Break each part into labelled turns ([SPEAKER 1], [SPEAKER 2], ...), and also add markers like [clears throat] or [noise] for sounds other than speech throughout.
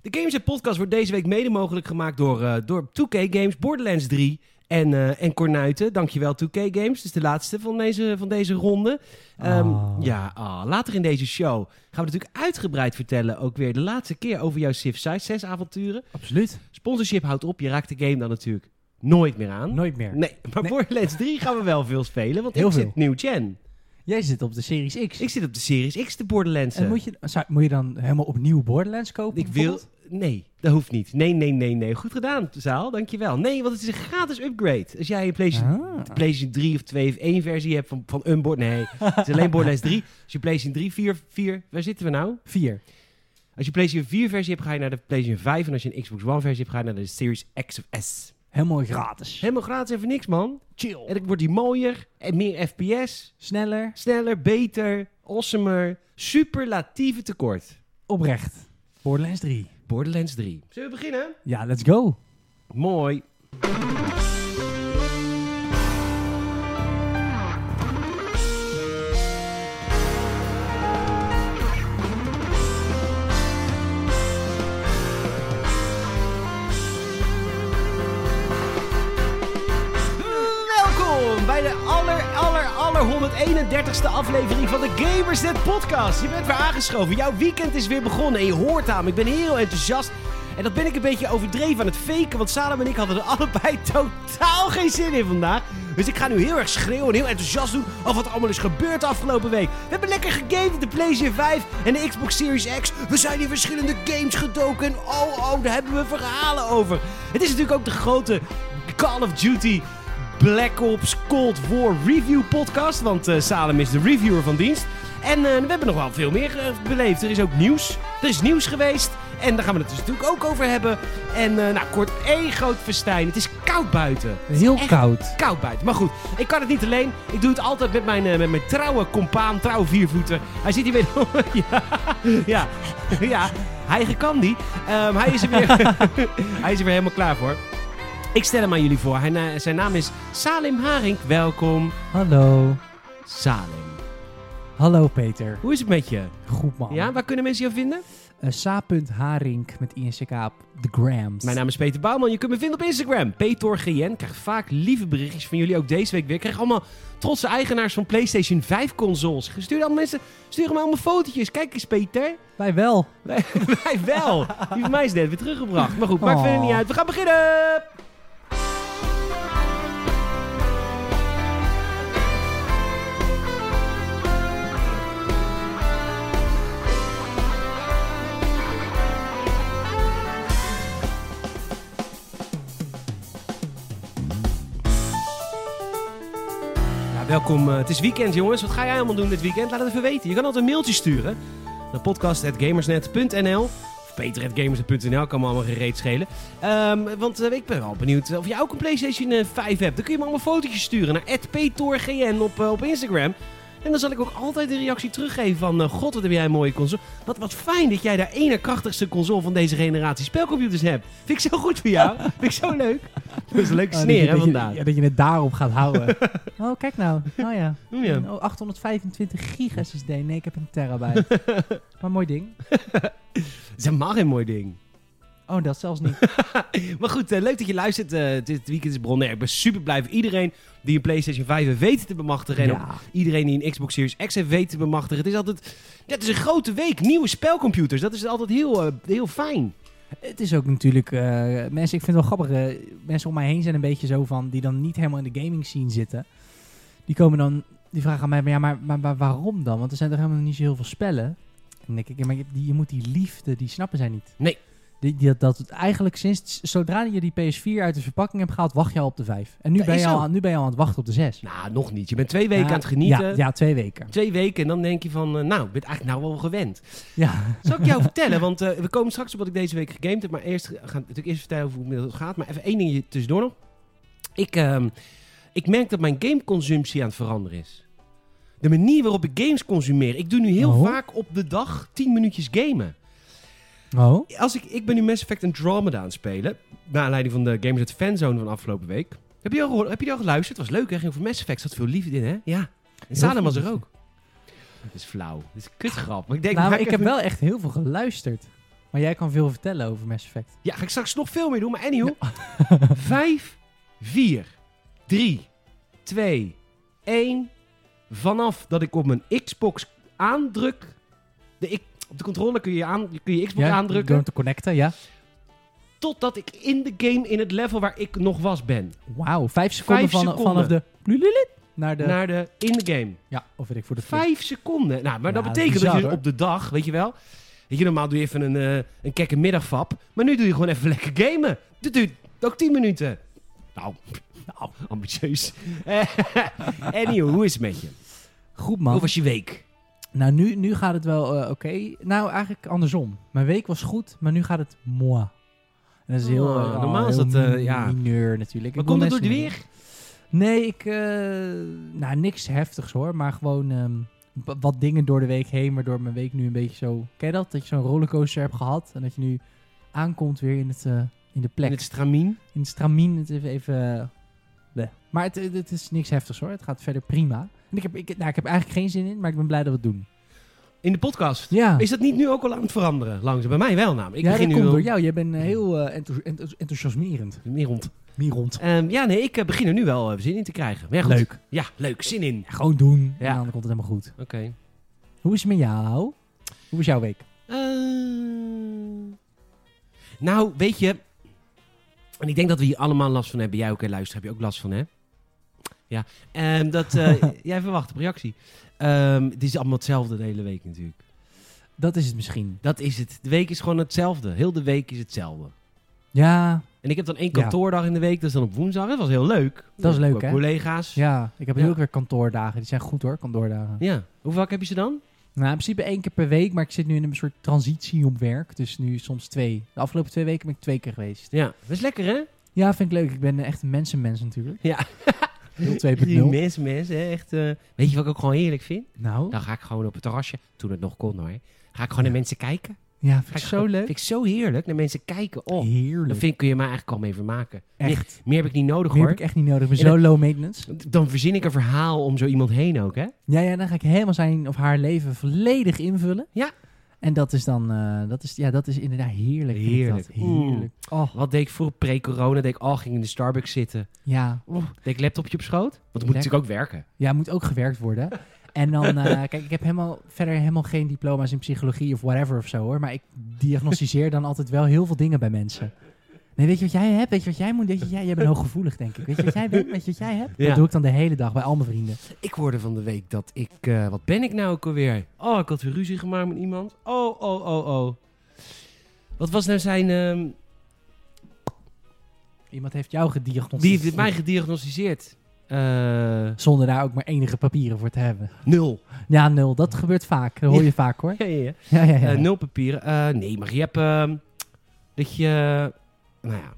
[SPEAKER 1] De Games Podcast wordt deze week mede mogelijk gemaakt door, eh, door 2K Games, Borderlands 3 en, eh en Cornuiten. Dankjewel 2K Games. Het is de laatste van deze, van deze ronde. Ehm,
[SPEAKER 2] Ah.
[SPEAKER 1] Ja, ah, later in deze show gaan we natuurlijk uitgebreid vertellen ook weer de laatste keer over jouw Civ 6 avonturen.
[SPEAKER 2] Absoluut.
[SPEAKER 1] Sponsorship houdt op, je raakt de game dan natuurlijk nooit meer aan.
[SPEAKER 2] Nooit meer.
[SPEAKER 1] Nee, maar
[SPEAKER 2] Nee.
[SPEAKER 1] Borderlands 3 gaan we wel veel spelen, want
[SPEAKER 2] Heel
[SPEAKER 1] ik
[SPEAKER 2] veel.
[SPEAKER 1] zit nieuw gen.
[SPEAKER 2] Jij zit op de Series X.
[SPEAKER 1] Ik zit op de Series X, de Borderlands. eh.
[SPEAKER 2] en moet je, zou- moet je dan helemaal opnieuw Borderlands kopen?
[SPEAKER 1] Ik wil... Nee, dat hoeft niet. Nee, nee, nee, nee. Goed gedaan, zaal. Dankjewel. Nee, want het is een gratis upgrade. Als jij een PlayStation,
[SPEAKER 2] bijvoorbeeld? Ah.
[SPEAKER 1] PlayStation 3 of 2 of 1 versie hebt van, van een board... Nee, het is alleen Borderlands 3. Als je PlayStation 3, 4, 4... Waar zitten we nou?
[SPEAKER 2] Vier.
[SPEAKER 1] Als je PlayStation 4 versie hebt, ga je naar de PlayStation 5. En als je een Xbox One versie hebt, ga je naar de Series X of S.
[SPEAKER 2] Helemaal gratis.
[SPEAKER 1] Helemaal gratis even niks, man. En
[SPEAKER 2] Chill.
[SPEAKER 1] dan wordt die mooier. En meer FPS.
[SPEAKER 2] Sneller.
[SPEAKER 1] Sneller, beter, awesomer. Superlatieve tekort.
[SPEAKER 2] Oprecht. Borderlands 3.
[SPEAKER 1] Borderlands 3. Zullen we beginnen?
[SPEAKER 2] Ja, let's go.
[SPEAKER 1] Mooi. Welkom bij de aller, aller, aller 131ste aflevering van de Gamersnet podcast. Je bent weer aangeschoven, jouw weekend is weer begonnen en je hoort aan. me. Ik ben heel enthousiast en dat ben ik een beetje overdreven aan het faken, want Salem en ik hadden er [laughs] allebei totaal geen zin in vandaag. Dus ik ga nu heel erg schreeuwen en heel enthousiast doen over wat er allemaal is gebeurd de afgelopen week. We hebben lekker gegamed op de PlayStation 5 en de Xbox Series X. We zijn in verschillende games gedoken en oh, oh, daar hebben we verhalen over. Het is natuurlijk ook de grote Call of Duty Black Ops Cold War Review Podcast. Want eh, Salem is de reviewer van dienst. En eh, we hebben nog wel veel meer eh, beleefd. Er is ook nieuws. Er is nieuws geweest. En daar gaan we het dus natuurlijk ook over hebben. En eh, nou, kort één groot festijn. Het is koud buiten.
[SPEAKER 2] Heel
[SPEAKER 1] Echt.
[SPEAKER 2] koud.
[SPEAKER 1] Koud buiten. Maar goed, ik kan het niet alleen. Ik doe het altijd met mijn, eh, met mijn trouwe compaan, trouwe viervoeter. Hij zit hier weer... [laughs] ja, ja, ja. Hij kan die. Ehm, hij, is er weer, [laughs] hij is er weer helemaal klaar voor. Ik stel hem aan jullie voor. Hij, na- zijn naam is Salim Haring. Welkom,
[SPEAKER 2] Hallo.
[SPEAKER 1] Salim.
[SPEAKER 2] Hallo Peter.
[SPEAKER 1] Hoe is het met je?
[SPEAKER 2] Goed man.
[SPEAKER 1] Ja, waar kunnen mensen jou vinden?
[SPEAKER 2] Eh, Sa.Harink met INCK op de grams.
[SPEAKER 1] Mijn naam is Peter Bouwman. Je kunt me vinden op Instagram. PetorGN. Krijg vaak lieve berichtjes van jullie. Ook deze week weer. Ik krijg allemaal trotse eigenaars van PlayStation 5 consoles. Stuur allemaal mensen. Stuur me allemaal fotootjes. Kijk eens, Peter.
[SPEAKER 2] Wij wel.
[SPEAKER 1] Wij, [laughs] wij wel. Die van mij is net weer teruggebracht. Maar goed, maakt
[SPEAKER 2] Oh.
[SPEAKER 1] verder niet uit. We gaan beginnen. Ja, Welkom, eh, het is weekend jongens. Wat ga jij allemaal doen dit weekend? Laat het even weten. Je kan altijd een mailtje sturen naar podcast.gamersnet.nl of peter.gamersnet.nl, kan me allemaal gereed schelen. Ehm, want eh, ik ben wel benieuwd of jij ook een PlayStation eh, 5 hebt. Dan kun je me allemaal fotootjes sturen naar @petorgn op, eh, op Instagram. En dan zal ik ook altijd de reactie teruggeven van... eh, God, wat heb jij een mooie console. Wat, wat fijn dat jij de ene krachtigste console van deze generatie spelcomputers hebt. Vind ik zo goed voor [laughs] jou. Vind ik zo leuk. Ah, Dat is een leuke
[SPEAKER 2] Oh, dat
[SPEAKER 1] sneer
[SPEAKER 2] je-
[SPEAKER 1] hè,
[SPEAKER 2] dat je-
[SPEAKER 1] vandaag.
[SPEAKER 2] ja, dat je het daarop gaat
[SPEAKER 1] [laughs]
[SPEAKER 2] houden. oh, kijk nou. Oh ja.
[SPEAKER 1] Ja.
[SPEAKER 2] Oh, 825 gig SSD. Nee, ik heb een terabyte.
[SPEAKER 1] [laughs]
[SPEAKER 2] maar mooi ding.
[SPEAKER 1] Het is helemaal geen mooi ding. [laughs]
[SPEAKER 2] Oh, dat zelfs niet.
[SPEAKER 1] Maar goed, eh, leuk dat je luistert. eh, dit weekend is begonnen. Ik ben super blij voor iedereen die een PlayStation 5 weet te bemachtigen. En ook
[SPEAKER 2] ja.
[SPEAKER 1] iedereen die een Xbox Series X heeft weet te bemachtigen. Het is altijd. ja, het is een grote week. Nieuwe spelcomputers. Dat is altijd heel, eh, heel fijn.
[SPEAKER 2] Het is ook natuurlijk... eh, mensen, ik vind het wel grappig. eh, mensen om mij heen zijn een beetje zo van... Die dan niet helemaal in de gaming scene zitten. Die komen dan... Die vragen aan mij, maar, ja, maar, maar, maar waarom dan? Want er zijn toch helemaal niet zo heel veel spellen? En dan denk ik, ja, maar je, die- je moet die liefde, die snappen zij niet.
[SPEAKER 1] Nee.
[SPEAKER 2] Die, die- dat, dat, eigenlijk sinds, zodra je die PS4 uit de verpakking hebt gehaald, wacht je al op de 5. En nu,
[SPEAKER 1] Dat
[SPEAKER 2] ben
[SPEAKER 1] is
[SPEAKER 2] je, al,
[SPEAKER 1] zo.
[SPEAKER 2] aan- nu ben je al aan het wachten op de 6.
[SPEAKER 1] Nou, nog niet. Je bent twee weken
[SPEAKER 2] Ja,
[SPEAKER 1] aan het genieten.
[SPEAKER 2] Ja, ja, twee weken. [laughs]
[SPEAKER 1] Twee weken en dan denk je van, eh, nou, ik ben het eigenlijk nou wel gewend.
[SPEAKER 2] Ja.
[SPEAKER 1] Zal ik jou [laughs] vertellen? Want eh, we komen straks op wat ik deze week gegamed heb. Maar eerst gaan we natuurlijk eerst vertellen hoe het gaat. Maar even één ding tussendoor nog. Ik, ehm, ik merk dat mijn gameconsumptie aan het veranderen is. De manier waarop ik games consumeer. Ik doe nu heel
[SPEAKER 2] Oh.
[SPEAKER 1] vaak op de dag 10 minuutjes gamen.
[SPEAKER 2] Oh?
[SPEAKER 1] Als ik, ik ben nu Mass Effect Andromeda aan het spelen. Naar aanleiding van de Games at Fanzone van afgelopen week. Heb je, al gehoor- heb je die al geluisterd? Het was leuk hè? Ging over Mass Effect. Zat veel liefde in hè? Ja. En
[SPEAKER 2] Heel
[SPEAKER 1] Salem
[SPEAKER 2] veel
[SPEAKER 1] was er
[SPEAKER 2] liefde.
[SPEAKER 1] ook. Dat is flauw. Dat is een kutgrap. Maar ik denk,
[SPEAKER 2] nou,
[SPEAKER 1] maak
[SPEAKER 2] ik
[SPEAKER 1] even-
[SPEAKER 2] heb wel echt heel veel geluisterd. Maar jij kan veel vertellen over Mass Effect.
[SPEAKER 1] Ja, ga ik straks nog veel meer doen, maar anyhow. [laughs] 5, 4, 3, 2, 1. Vanaf dat ik op mijn Xbox aandruk. De, ik- op de controller kun je aan, kun je Xbox
[SPEAKER 2] ja,
[SPEAKER 1] aandrukken.
[SPEAKER 2] Door hem te connecten, ja.
[SPEAKER 1] Totdat ik in de game in het level waar ik nog was ben.
[SPEAKER 2] Wauw, vijf seconden, van,
[SPEAKER 1] seconden.
[SPEAKER 2] vanaf de... Lulululut Naar de...
[SPEAKER 1] Naar de in de game.
[SPEAKER 2] ja, of weet ik, voor de... flip.
[SPEAKER 1] Vijf seconden. Nou, maar
[SPEAKER 2] Ja,
[SPEAKER 1] dat betekent
[SPEAKER 2] bizar,
[SPEAKER 1] dat je
[SPEAKER 2] hoor.
[SPEAKER 1] op de dag, weet je wel. Weet je, normaal doe je even een, eh, een kekke middagfap. Maar nu doe je gewoon even [laughs] lekker gamen. Dat duurt ook 10 minuten. Nou, [laughs] nou ambitieus. [laughs] Anywho, hoe is het met je?
[SPEAKER 2] Goed man.
[SPEAKER 1] Hoe was je week?
[SPEAKER 2] Nou, nu, nu gaat het wel eh, oké. Nou, eigenlijk andersom. Mijn week was goed, maar nu gaat het moi. En dat is heel...
[SPEAKER 1] Ah,
[SPEAKER 2] eh,
[SPEAKER 1] normaal
[SPEAKER 2] oh,
[SPEAKER 1] is
[SPEAKER 2] heel
[SPEAKER 1] dat, eh,
[SPEAKER 2] mi-
[SPEAKER 1] ja.
[SPEAKER 2] Mineur natuurlijk.
[SPEAKER 1] Maar
[SPEAKER 2] Ik wil
[SPEAKER 1] komt het door
[SPEAKER 2] mensen
[SPEAKER 1] de
[SPEAKER 2] niet-
[SPEAKER 1] weer?
[SPEAKER 2] Nee, ik... eh, nou, niks heftigs hoor. Maar gewoon ehm, b- wat dingen door de week heen, waardoor mijn week nu een beetje zo... Ken je dat? Dat je zo'n rollercoaster hebt gehad en dat je nu aankomt weer in, het, eh, in de plek.
[SPEAKER 1] In het stramien?
[SPEAKER 2] In het stramien, het even... even eh, bleh. Maar het, het is niks heftigs hoor. Het gaat verder prima. En ik heb, ik, nou, ik heb eigenlijk geen zin in, maar ik ben blij dat we het doen.
[SPEAKER 1] In de podcast?
[SPEAKER 2] Ja.
[SPEAKER 1] Is dat niet nu ook al aan het veranderen? Langzaam. Bij mij wel namelijk. Ik
[SPEAKER 2] ja,
[SPEAKER 1] begin
[SPEAKER 2] dat
[SPEAKER 1] nu
[SPEAKER 2] komt
[SPEAKER 1] al-
[SPEAKER 2] door jou. Jij bent eh, heel eh, enthous- enthous- enthousiasmerend.
[SPEAKER 1] Meer rond.
[SPEAKER 2] Meer rond.
[SPEAKER 1] Ehm, ja, nee, ik eh, begin er nu wel eh, zin in te krijgen. Maar ja, goed.
[SPEAKER 2] Leuk.
[SPEAKER 1] Ja, leuk. Zin in.
[SPEAKER 2] Ja, gewoon doen.
[SPEAKER 1] Ja.
[SPEAKER 2] En dan komt het helemaal goed.
[SPEAKER 1] Oké.
[SPEAKER 2] Hoe is het met jou? Hoe was jouw week?
[SPEAKER 1] Eh, nou, weet je. En ik denk dat we hier allemaal last van hebben. Jij ook, hè, luister. Heb je ook last van, hè? Ja. Ehm, dat, eh,
[SPEAKER 2] [laughs]
[SPEAKER 1] jij verwacht op reactie. Ehm, het is allemaal hetzelfde de hele week natuurlijk.
[SPEAKER 2] Dat is het misschien.
[SPEAKER 1] Dat is het. De week is gewoon hetzelfde. Heel de week is hetzelfde.
[SPEAKER 2] Ja,
[SPEAKER 1] En ik heb dan één
[SPEAKER 2] Ja.
[SPEAKER 1] kantoordag in de week. Dat is dan op woensdag. Dat was heel leuk.
[SPEAKER 2] Dat is leuk,
[SPEAKER 1] Ook
[SPEAKER 2] hè?
[SPEAKER 1] Collega's.
[SPEAKER 2] ja. Ik heb nu
[SPEAKER 1] Ja.
[SPEAKER 2] ook weer kantoordagen. Die zijn goed hoor, kantoordagen.
[SPEAKER 1] ja. Hoe vaak heb je ze dan?
[SPEAKER 2] Nou, in principe één keer per week. Maar ik zit nu in een soort transitie op werk. Dus nu soms twee. De afgelopen twee weken ben ik twee keer geweest.
[SPEAKER 1] Ja. Dat is lekker, hè?
[SPEAKER 2] Ja, vind ik leuk. Ik ben eh, echt een mensenmens natuurlijk.
[SPEAKER 1] Ja. [laughs]
[SPEAKER 2] Heel 2.0.
[SPEAKER 1] Mensen, mensen. hè, Echt, eh, weet je wat ik ook gewoon heerlijk vind?
[SPEAKER 2] Nou,
[SPEAKER 1] Dan ga ik gewoon op het terrasje, toen het nog kon hoor. Ga ik gewoon naar mensen kijken.
[SPEAKER 2] ja,
[SPEAKER 1] Ga
[SPEAKER 2] vind
[SPEAKER 1] ik
[SPEAKER 2] ik zo
[SPEAKER 1] gewoon-
[SPEAKER 2] leuk.
[SPEAKER 1] Vind ik zo heerlijk, naar mensen kijken. Oh, dan
[SPEAKER 2] Heerlijk.
[SPEAKER 1] vind, kun je me eigenlijk al mee vermaken.
[SPEAKER 2] Echt.
[SPEAKER 1] Meer heb ik niet nodig
[SPEAKER 2] Meer
[SPEAKER 1] hoor.
[SPEAKER 2] heb ik echt niet nodig. Ik
[SPEAKER 1] En
[SPEAKER 2] ben zo low maintenance.
[SPEAKER 1] Dan verzin ik een verhaal om zo iemand heen ook, hè?
[SPEAKER 2] Ja, ja, dan ga ik helemaal zijn of haar leven volledig invullen.
[SPEAKER 1] Ja.
[SPEAKER 2] En dat is dan, eh, dat is, ja, dat is inderdaad heerlijk. vind ik
[SPEAKER 1] Heerlijk.
[SPEAKER 2] dat. Heerlijk. Oh,
[SPEAKER 1] Wat deed ik vroeger pre-corona? Deed ik, oh, ging in de Starbucks zitten.
[SPEAKER 2] ja.
[SPEAKER 1] Oh, deed ik laptopje op schoot? Want het moet
[SPEAKER 2] Lekker.
[SPEAKER 1] natuurlijk ook werken.
[SPEAKER 2] Ja, moet ook gewerkt worden.
[SPEAKER 1] [laughs]
[SPEAKER 2] En dan, eh, kijk, ik heb helemaal, verder helemaal geen diploma's in psychologie of whatever of zo hoor. Maar ik diagnosticeer dan altijd wel heel veel dingen bij mensen. Nee, weet je wat jij hebt? Weet je wat jij moet? Weet je, jij, jij bent hooggevoelig, denk ik. Weet je wat jij bent? Weet je wat jij hebt?
[SPEAKER 1] Ja.
[SPEAKER 2] Dat doe ik dan de hele dag bij al mijn vrienden.
[SPEAKER 1] Ik hoorde van de week dat ik... eh, wat ben ik nou ook alweer? Oh, ik had weer ruzie gemaakt met iemand. Oh, oh, oh, oh. Wat was nou zijn... ehm,
[SPEAKER 2] Iemand heeft jou
[SPEAKER 1] die heeft
[SPEAKER 2] gediagnosticeerd.
[SPEAKER 1] mij gediagnosticeerd. Eh,
[SPEAKER 2] Zonder daar ook maar enige papieren voor te hebben.
[SPEAKER 1] nul.
[SPEAKER 2] Ja, nul. Dat gebeurt vaak. Dat hoor je vaak hoor.
[SPEAKER 1] Ja, ja, ja.
[SPEAKER 2] Ja, ja, ja.
[SPEAKER 1] Eh, nul papieren. Eh, nee, maar je hebt ehm, dat je. nou ja,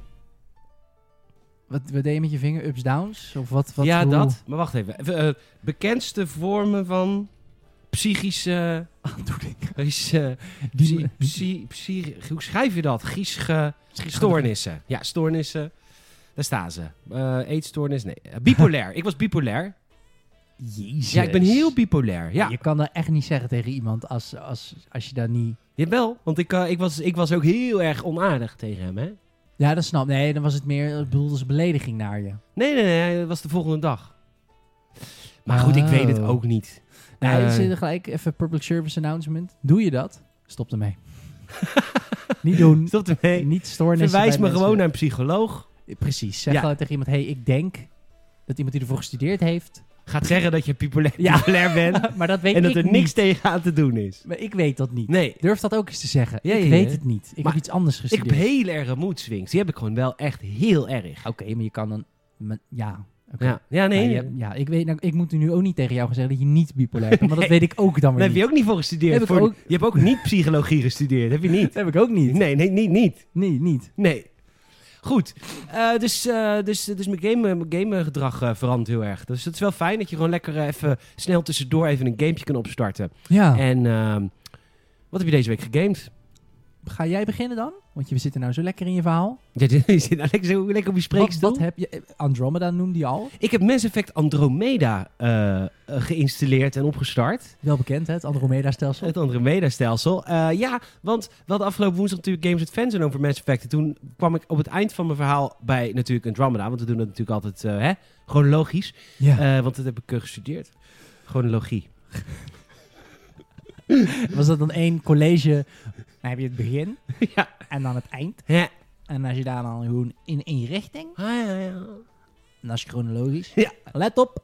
[SPEAKER 2] Wat, wat deed je met je vinger? Ups, downs? Of wat, wat,
[SPEAKER 1] ja
[SPEAKER 2] hoe- [laughs]
[SPEAKER 1] dat. Maar wacht even. Even, eh, bekendste vormen van psychische.
[SPEAKER 2] Aandoeningen.
[SPEAKER 1] psychische
[SPEAKER 2] Die-
[SPEAKER 1] psy- psy- psy- hoe schrijf je dat? Giesge. Stoornissen. Ja, stoornissen. Daar staan ze. Eh, eetstoornis. Nee. Eh, bipolair. ik was bipolair.
[SPEAKER 2] Jezus.
[SPEAKER 1] Ja, ik ben heel bipolair. Ja,
[SPEAKER 2] Je kan dat echt niet zeggen tegen iemand als, als, als je daar niet...
[SPEAKER 1] jawel. Want ik, eh, ik, was, ik was ook heel erg onaardig tegen hem, hè?
[SPEAKER 2] Ja, dat snap ik. Nee, dan was het meer... Ik bedoel, dat is een belediging naar je.
[SPEAKER 1] Nee, nee, nee. Dat was de volgende dag. Maar goed, ik
[SPEAKER 2] Oh.
[SPEAKER 1] weet het ook niet.
[SPEAKER 2] Nou,
[SPEAKER 1] Eh.
[SPEAKER 2] het is gelijk even public service announcement. Doe je dat? Stop ermee. [laughs] niet doen.
[SPEAKER 1] Stop ermee.
[SPEAKER 2] Niet stoornissen
[SPEAKER 1] Verwijs
[SPEAKER 2] bij
[SPEAKER 1] me
[SPEAKER 2] mensen.
[SPEAKER 1] gewoon naar een psycholoog.
[SPEAKER 2] Precies. Zeg
[SPEAKER 1] Ja.
[SPEAKER 2] gewoon tegen iemand... Hé, hey, ik denk dat iemand die ervoor gestudeerd
[SPEAKER 1] [laughs]
[SPEAKER 2] heeft...
[SPEAKER 1] Gaat zeggen dat je populair,
[SPEAKER 2] Ja.
[SPEAKER 1] populair
[SPEAKER 2] [laughs]
[SPEAKER 1] bent.
[SPEAKER 2] maar dat weet
[SPEAKER 1] en dat
[SPEAKER 2] ik
[SPEAKER 1] er
[SPEAKER 2] niet.
[SPEAKER 1] niks tegen aan te doen is.
[SPEAKER 2] Maar ik weet dat niet.
[SPEAKER 1] Nee,
[SPEAKER 2] Durf dat ook eens te zeggen.
[SPEAKER 1] Ja,
[SPEAKER 2] ik
[SPEAKER 1] ja, ja.
[SPEAKER 2] weet het niet. Ik
[SPEAKER 1] Maar
[SPEAKER 2] heb iets anders
[SPEAKER 1] ik
[SPEAKER 2] gestudeerd.
[SPEAKER 1] heb heel erg moedswings. Die heb ik gewoon wel echt heel erg.
[SPEAKER 2] Oké, maar je kan dan... maar- Ja. oké.
[SPEAKER 1] Ja, ja nee.
[SPEAKER 2] Maar je hebt- ja, ik, weet, nou, ik moet nu ook niet tegen jou gaan zeggen dat je niet bipolair bent. Want dat
[SPEAKER 1] Nee.
[SPEAKER 2] weet ik ook dan
[SPEAKER 1] Daar
[SPEAKER 2] weer
[SPEAKER 1] heb
[SPEAKER 2] niet.
[SPEAKER 1] je ook niet voor gestudeerd.
[SPEAKER 2] Heb ik
[SPEAKER 1] voor-
[SPEAKER 2] ook-
[SPEAKER 1] Je hebt ook niet psychologie gestudeerd. Heb je niet?
[SPEAKER 2] Dat heb ik ook [laughs] niet.
[SPEAKER 1] Nee, nee, niet, niet.
[SPEAKER 2] Nee, niet.
[SPEAKER 1] Nee. Goed. Eh, dus, eh, dus, dus mijn game- mijn gamegedrag game verandert heel erg. Dus het is wel fijn dat je gewoon lekker eh, even snel tussendoor even een gamepje kan opstarten.
[SPEAKER 2] Ja,
[SPEAKER 1] En ehm, wat heb je deze week gegamed? [laughs]
[SPEAKER 2] ga jij beginnen dan? Want je zit er nou zo lekker in je verhaal.
[SPEAKER 1] Je zit nou lekker, zo lekker op je
[SPEAKER 2] Wat,
[SPEAKER 1] spreekstoel.
[SPEAKER 2] wat heb je? eh, Andromeda noemde je al.
[SPEAKER 1] Ik heb Mass Effect Andromeda eh, eh, geïnstalleerd en opgestart.
[SPEAKER 2] Wel bekend, hè? Het Andromeda-stelsel.
[SPEAKER 1] Het Andromeda-stelsel. Eh, ja, want we hadden afgelopen woensdag natuurlijk Games with Fans en over Mass Effect. En toen kwam ik op het eind van mijn verhaal bij natuurlijk Andromeda. Want we doen dat natuurlijk altijd eh, hè, chronologisch.
[SPEAKER 2] Ja.
[SPEAKER 1] Eh, want dat heb ik eh, gestudeerd. Chronologie.
[SPEAKER 2] Was dat dan één college? Dan heb je het begin
[SPEAKER 1] ja.
[SPEAKER 2] en dan het eind.
[SPEAKER 1] Ja.
[SPEAKER 2] En als je daar dan gewoon in één richting,
[SPEAKER 1] Ah, ja, ja.
[SPEAKER 2] en dat is chronologisch.
[SPEAKER 1] Ja.
[SPEAKER 2] Let op.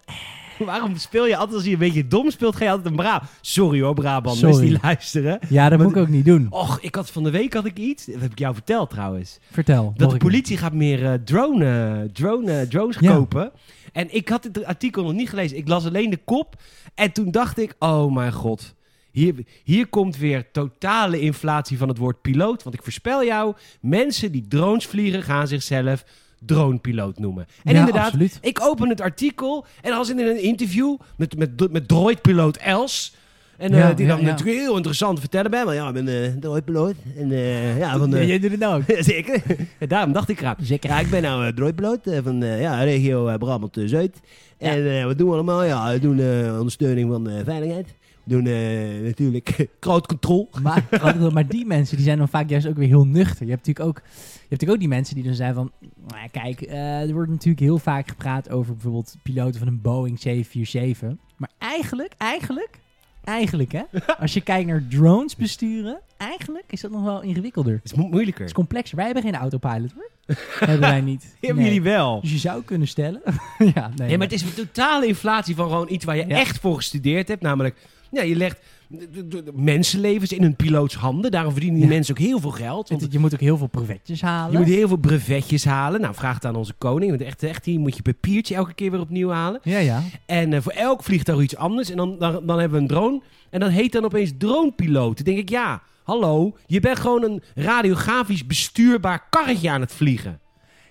[SPEAKER 1] Waarom speel je altijd als je een beetje dom speelt, ga je altijd een Brabant. Sorry hoor, Brabant,
[SPEAKER 2] Sorry.
[SPEAKER 1] mensen die luisteren.
[SPEAKER 2] Ja, dat
[SPEAKER 1] Maar
[SPEAKER 2] moet ik ook niet doen.
[SPEAKER 1] Och, ik had van de week had ik iets. Dat heb ik jou verteld trouwens. Dat
[SPEAKER 2] Vertel. hoor
[SPEAKER 1] de
[SPEAKER 2] ik niet.
[SPEAKER 1] politie gaat meer eh, drone, eh, drone, eh, drones
[SPEAKER 2] Ja.
[SPEAKER 1] kopen. En ik had het artikel nog niet gelezen. Ik las alleen de kop. En toen dacht ik, oh mijn god. Hier, hier komt weer totale inflatie van het woord piloot. Want ik voorspel jou, mensen die drones vliegen gaan zichzelf dronepiloot noemen. En
[SPEAKER 2] Ja,
[SPEAKER 1] inderdaad,
[SPEAKER 2] absoluut.
[SPEAKER 1] ik open het artikel en als in een interview met, met, met droidpiloot Els. En eh,
[SPEAKER 2] Ja,
[SPEAKER 1] die
[SPEAKER 2] ja,
[SPEAKER 1] dan
[SPEAKER 2] ja.
[SPEAKER 1] natuurlijk heel interessant vertellen bij me. Ja, ik ben eh droidpiloot. En eh, ja, van,
[SPEAKER 2] Ja,
[SPEAKER 1] eh,
[SPEAKER 2] jij doet het nou ook.
[SPEAKER 1] [laughs] Zeker. Daarom dacht ik raar.
[SPEAKER 2] Zeker.
[SPEAKER 1] Ja, ik ben nou uh, droidpiloot eh, van eh, ja, regio eh, Brabant-Zuid.
[SPEAKER 2] Ja.
[SPEAKER 1] En eh, wat doen we allemaal? Ja, we doen eh, ondersteuning van eh, veiligheid. We doen eh, natuurlijk [laughs] crowd control. [laughs]
[SPEAKER 2] Maar, maar die mensen die zijn dan vaak juist ook weer heel nuchter. Je hebt natuurlijk ook, je hebt natuurlijk ook die mensen die dan zijn van... "Nou ja, Kijk, eh, er wordt natuurlijk heel vaak gepraat over bijvoorbeeld piloten van een Boeing 747. Maar eigenlijk, eigenlijk, eigenlijk
[SPEAKER 1] [laughs]
[SPEAKER 2] hè. Als je kijkt naar drones besturen, eigenlijk is dat nog wel ingewikkelder.
[SPEAKER 1] Het is mo- moeilijker.
[SPEAKER 2] Het is complexer. Wij hebben geen autopilot
[SPEAKER 1] [laughs]
[SPEAKER 2] hoor. hebben wij niet.
[SPEAKER 1] Die hebben
[SPEAKER 2] Nee.
[SPEAKER 1] jullie wel.
[SPEAKER 2] Dus je zou kunnen
[SPEAKER 1] [laughs]
[SPEAKER 2] stellen. ja, nee.
[SPEAKER 1] Nee, maar het is een totale inflatie van gewoon iets waar je
[SPEAKER 2] Ja.
[SPEAKER 1] echt voor gestudeerd hebt. Namelijk, ja, je legt d- d- d- mensenlevens in hun piloots handen. Daarom verdienen die
[SPEAKER 2] Ja.
[SPEAKER 1] mensen ook heel veel geld. Want
[SPEAKER 2] Want je moet ook heel veel brevetjes halen.
[SPEAKER 1] je moet heel veel brevetjes halen. Nou, vraag het aan onze koning. Want echt, echt, hier moet je papiertje elke keer weer opnieuw halen.
[SPEAKER 2] Ja, ja.
[SPEAKER 1] En eh, voor elk vliegtuig iets anders. En dan, dan, dan hebben we een drone. En dat heet dan opeens dronepiloot. Dan denk ik, ja, hallo. Je bent gewoon een radiografisch bestuurbaar karretje aan het vliegen.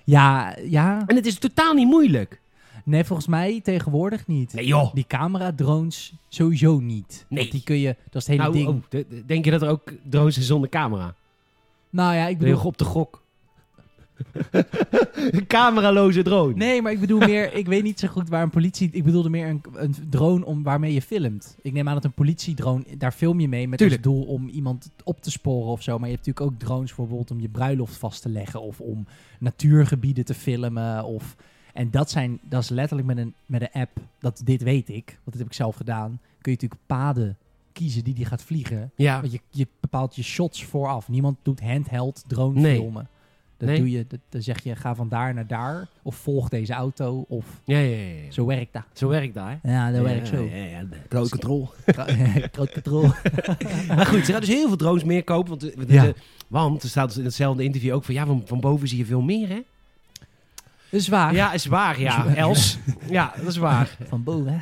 [SPEAKER 2] Ja, ja.
[SPEAKER 1] En het is totaal niet moeilijk.
[SPEAKER 2] Nee, volgens mij tegenwoordig niet.
[SPEAKER 1] Nee joh.
[SPEAKER 2] Die camera-drones sowieso niet.
[SPEAKER 1] Nee.
[SPEAKER 2] Want die kun je, dat is het hele
[SPEAKER 1] Nou,
[SPEAKER 2] ding.
[SPEAKER 1] oh, de- de- denk je dat er ook drones zijn zonder camera?
[SPEAKER 2] Nou ja, ik
[SPEAKER 1] Ben je
[SPEAKER 2] bedoel.
[SPEAKER 1] nog op de gok? een [laughs] cameraloze drone.
[SPEAKER 2] Nee, maar ik bedoel meer, ik weet niet zo goed waar een politie. Ik bedoelde meer een, een drone om, waarmee je filmt. Ik neem aan dat een politiedrone, daar film je mee met
[SPEAKER 1] Tuurlijk.
[SPEAKER 2] als doel om iemand op te sporen of zo. Maar je hebt natuurlijk ook drones bijvoorbeeld om je bruiloft vast te leggen of om natuurgebieden te filmen. Of, en dat, zijn, dat is letterlijk met een, met een app, dat dit weet ik, want dat heb ik zelf gedaan. Kun je natuurlijk paden kiezen die die gaat vliegen.
[SPEAKER 1] Ja.
[SPEAKER 2] Want je, je bepaalt je shots vooraf. Niemand doet handheld drone
[SPEAKER 1] Nee.
[SPEAKER 2] filmen. Dat
[SPEAKER 1] Nee.
[SPEAKER 2] doe je, dat, dan zeg je ga van daar naar daar. Of volg deze auto. Of
[SPEAKER 1] Ja, ja, ja, ja. Zo,
[SPEAKER 2] zo werkt dat.
[SPEAKER 1] zo werkt dat, hè?
[SPEAKER 2] Ja, dat
[SPEAKER 1] Ja,
[SPEAKER 2] werkt zo.
[SPEAKER 1] Ja, ja, Groot controle. [laughs]
[SPEAKER 2] Tro- Groot [laughs] controle.
[SPEAKER 1] Maar goed, ze gaan dus heel veel drones meer kopen. Want, eh, want,
[SPEAKER 2] Ja.
[SPEAKER 1] eh, want er staat dus in hetzelfde interview ook van... Ja, van, van boven zie je veel meer, hè?
[SPEAKER 2] Dat is waar.
[SPEAKER 1] Ja, is waar,
[SPEAKER 2] Dat
[SPEAKER 1] ja. [laughs]
[SPEAKER 2] is-
[SPEAKER 1] Els. Ja, dat is waar.
[SPEAKER 2] Van boven,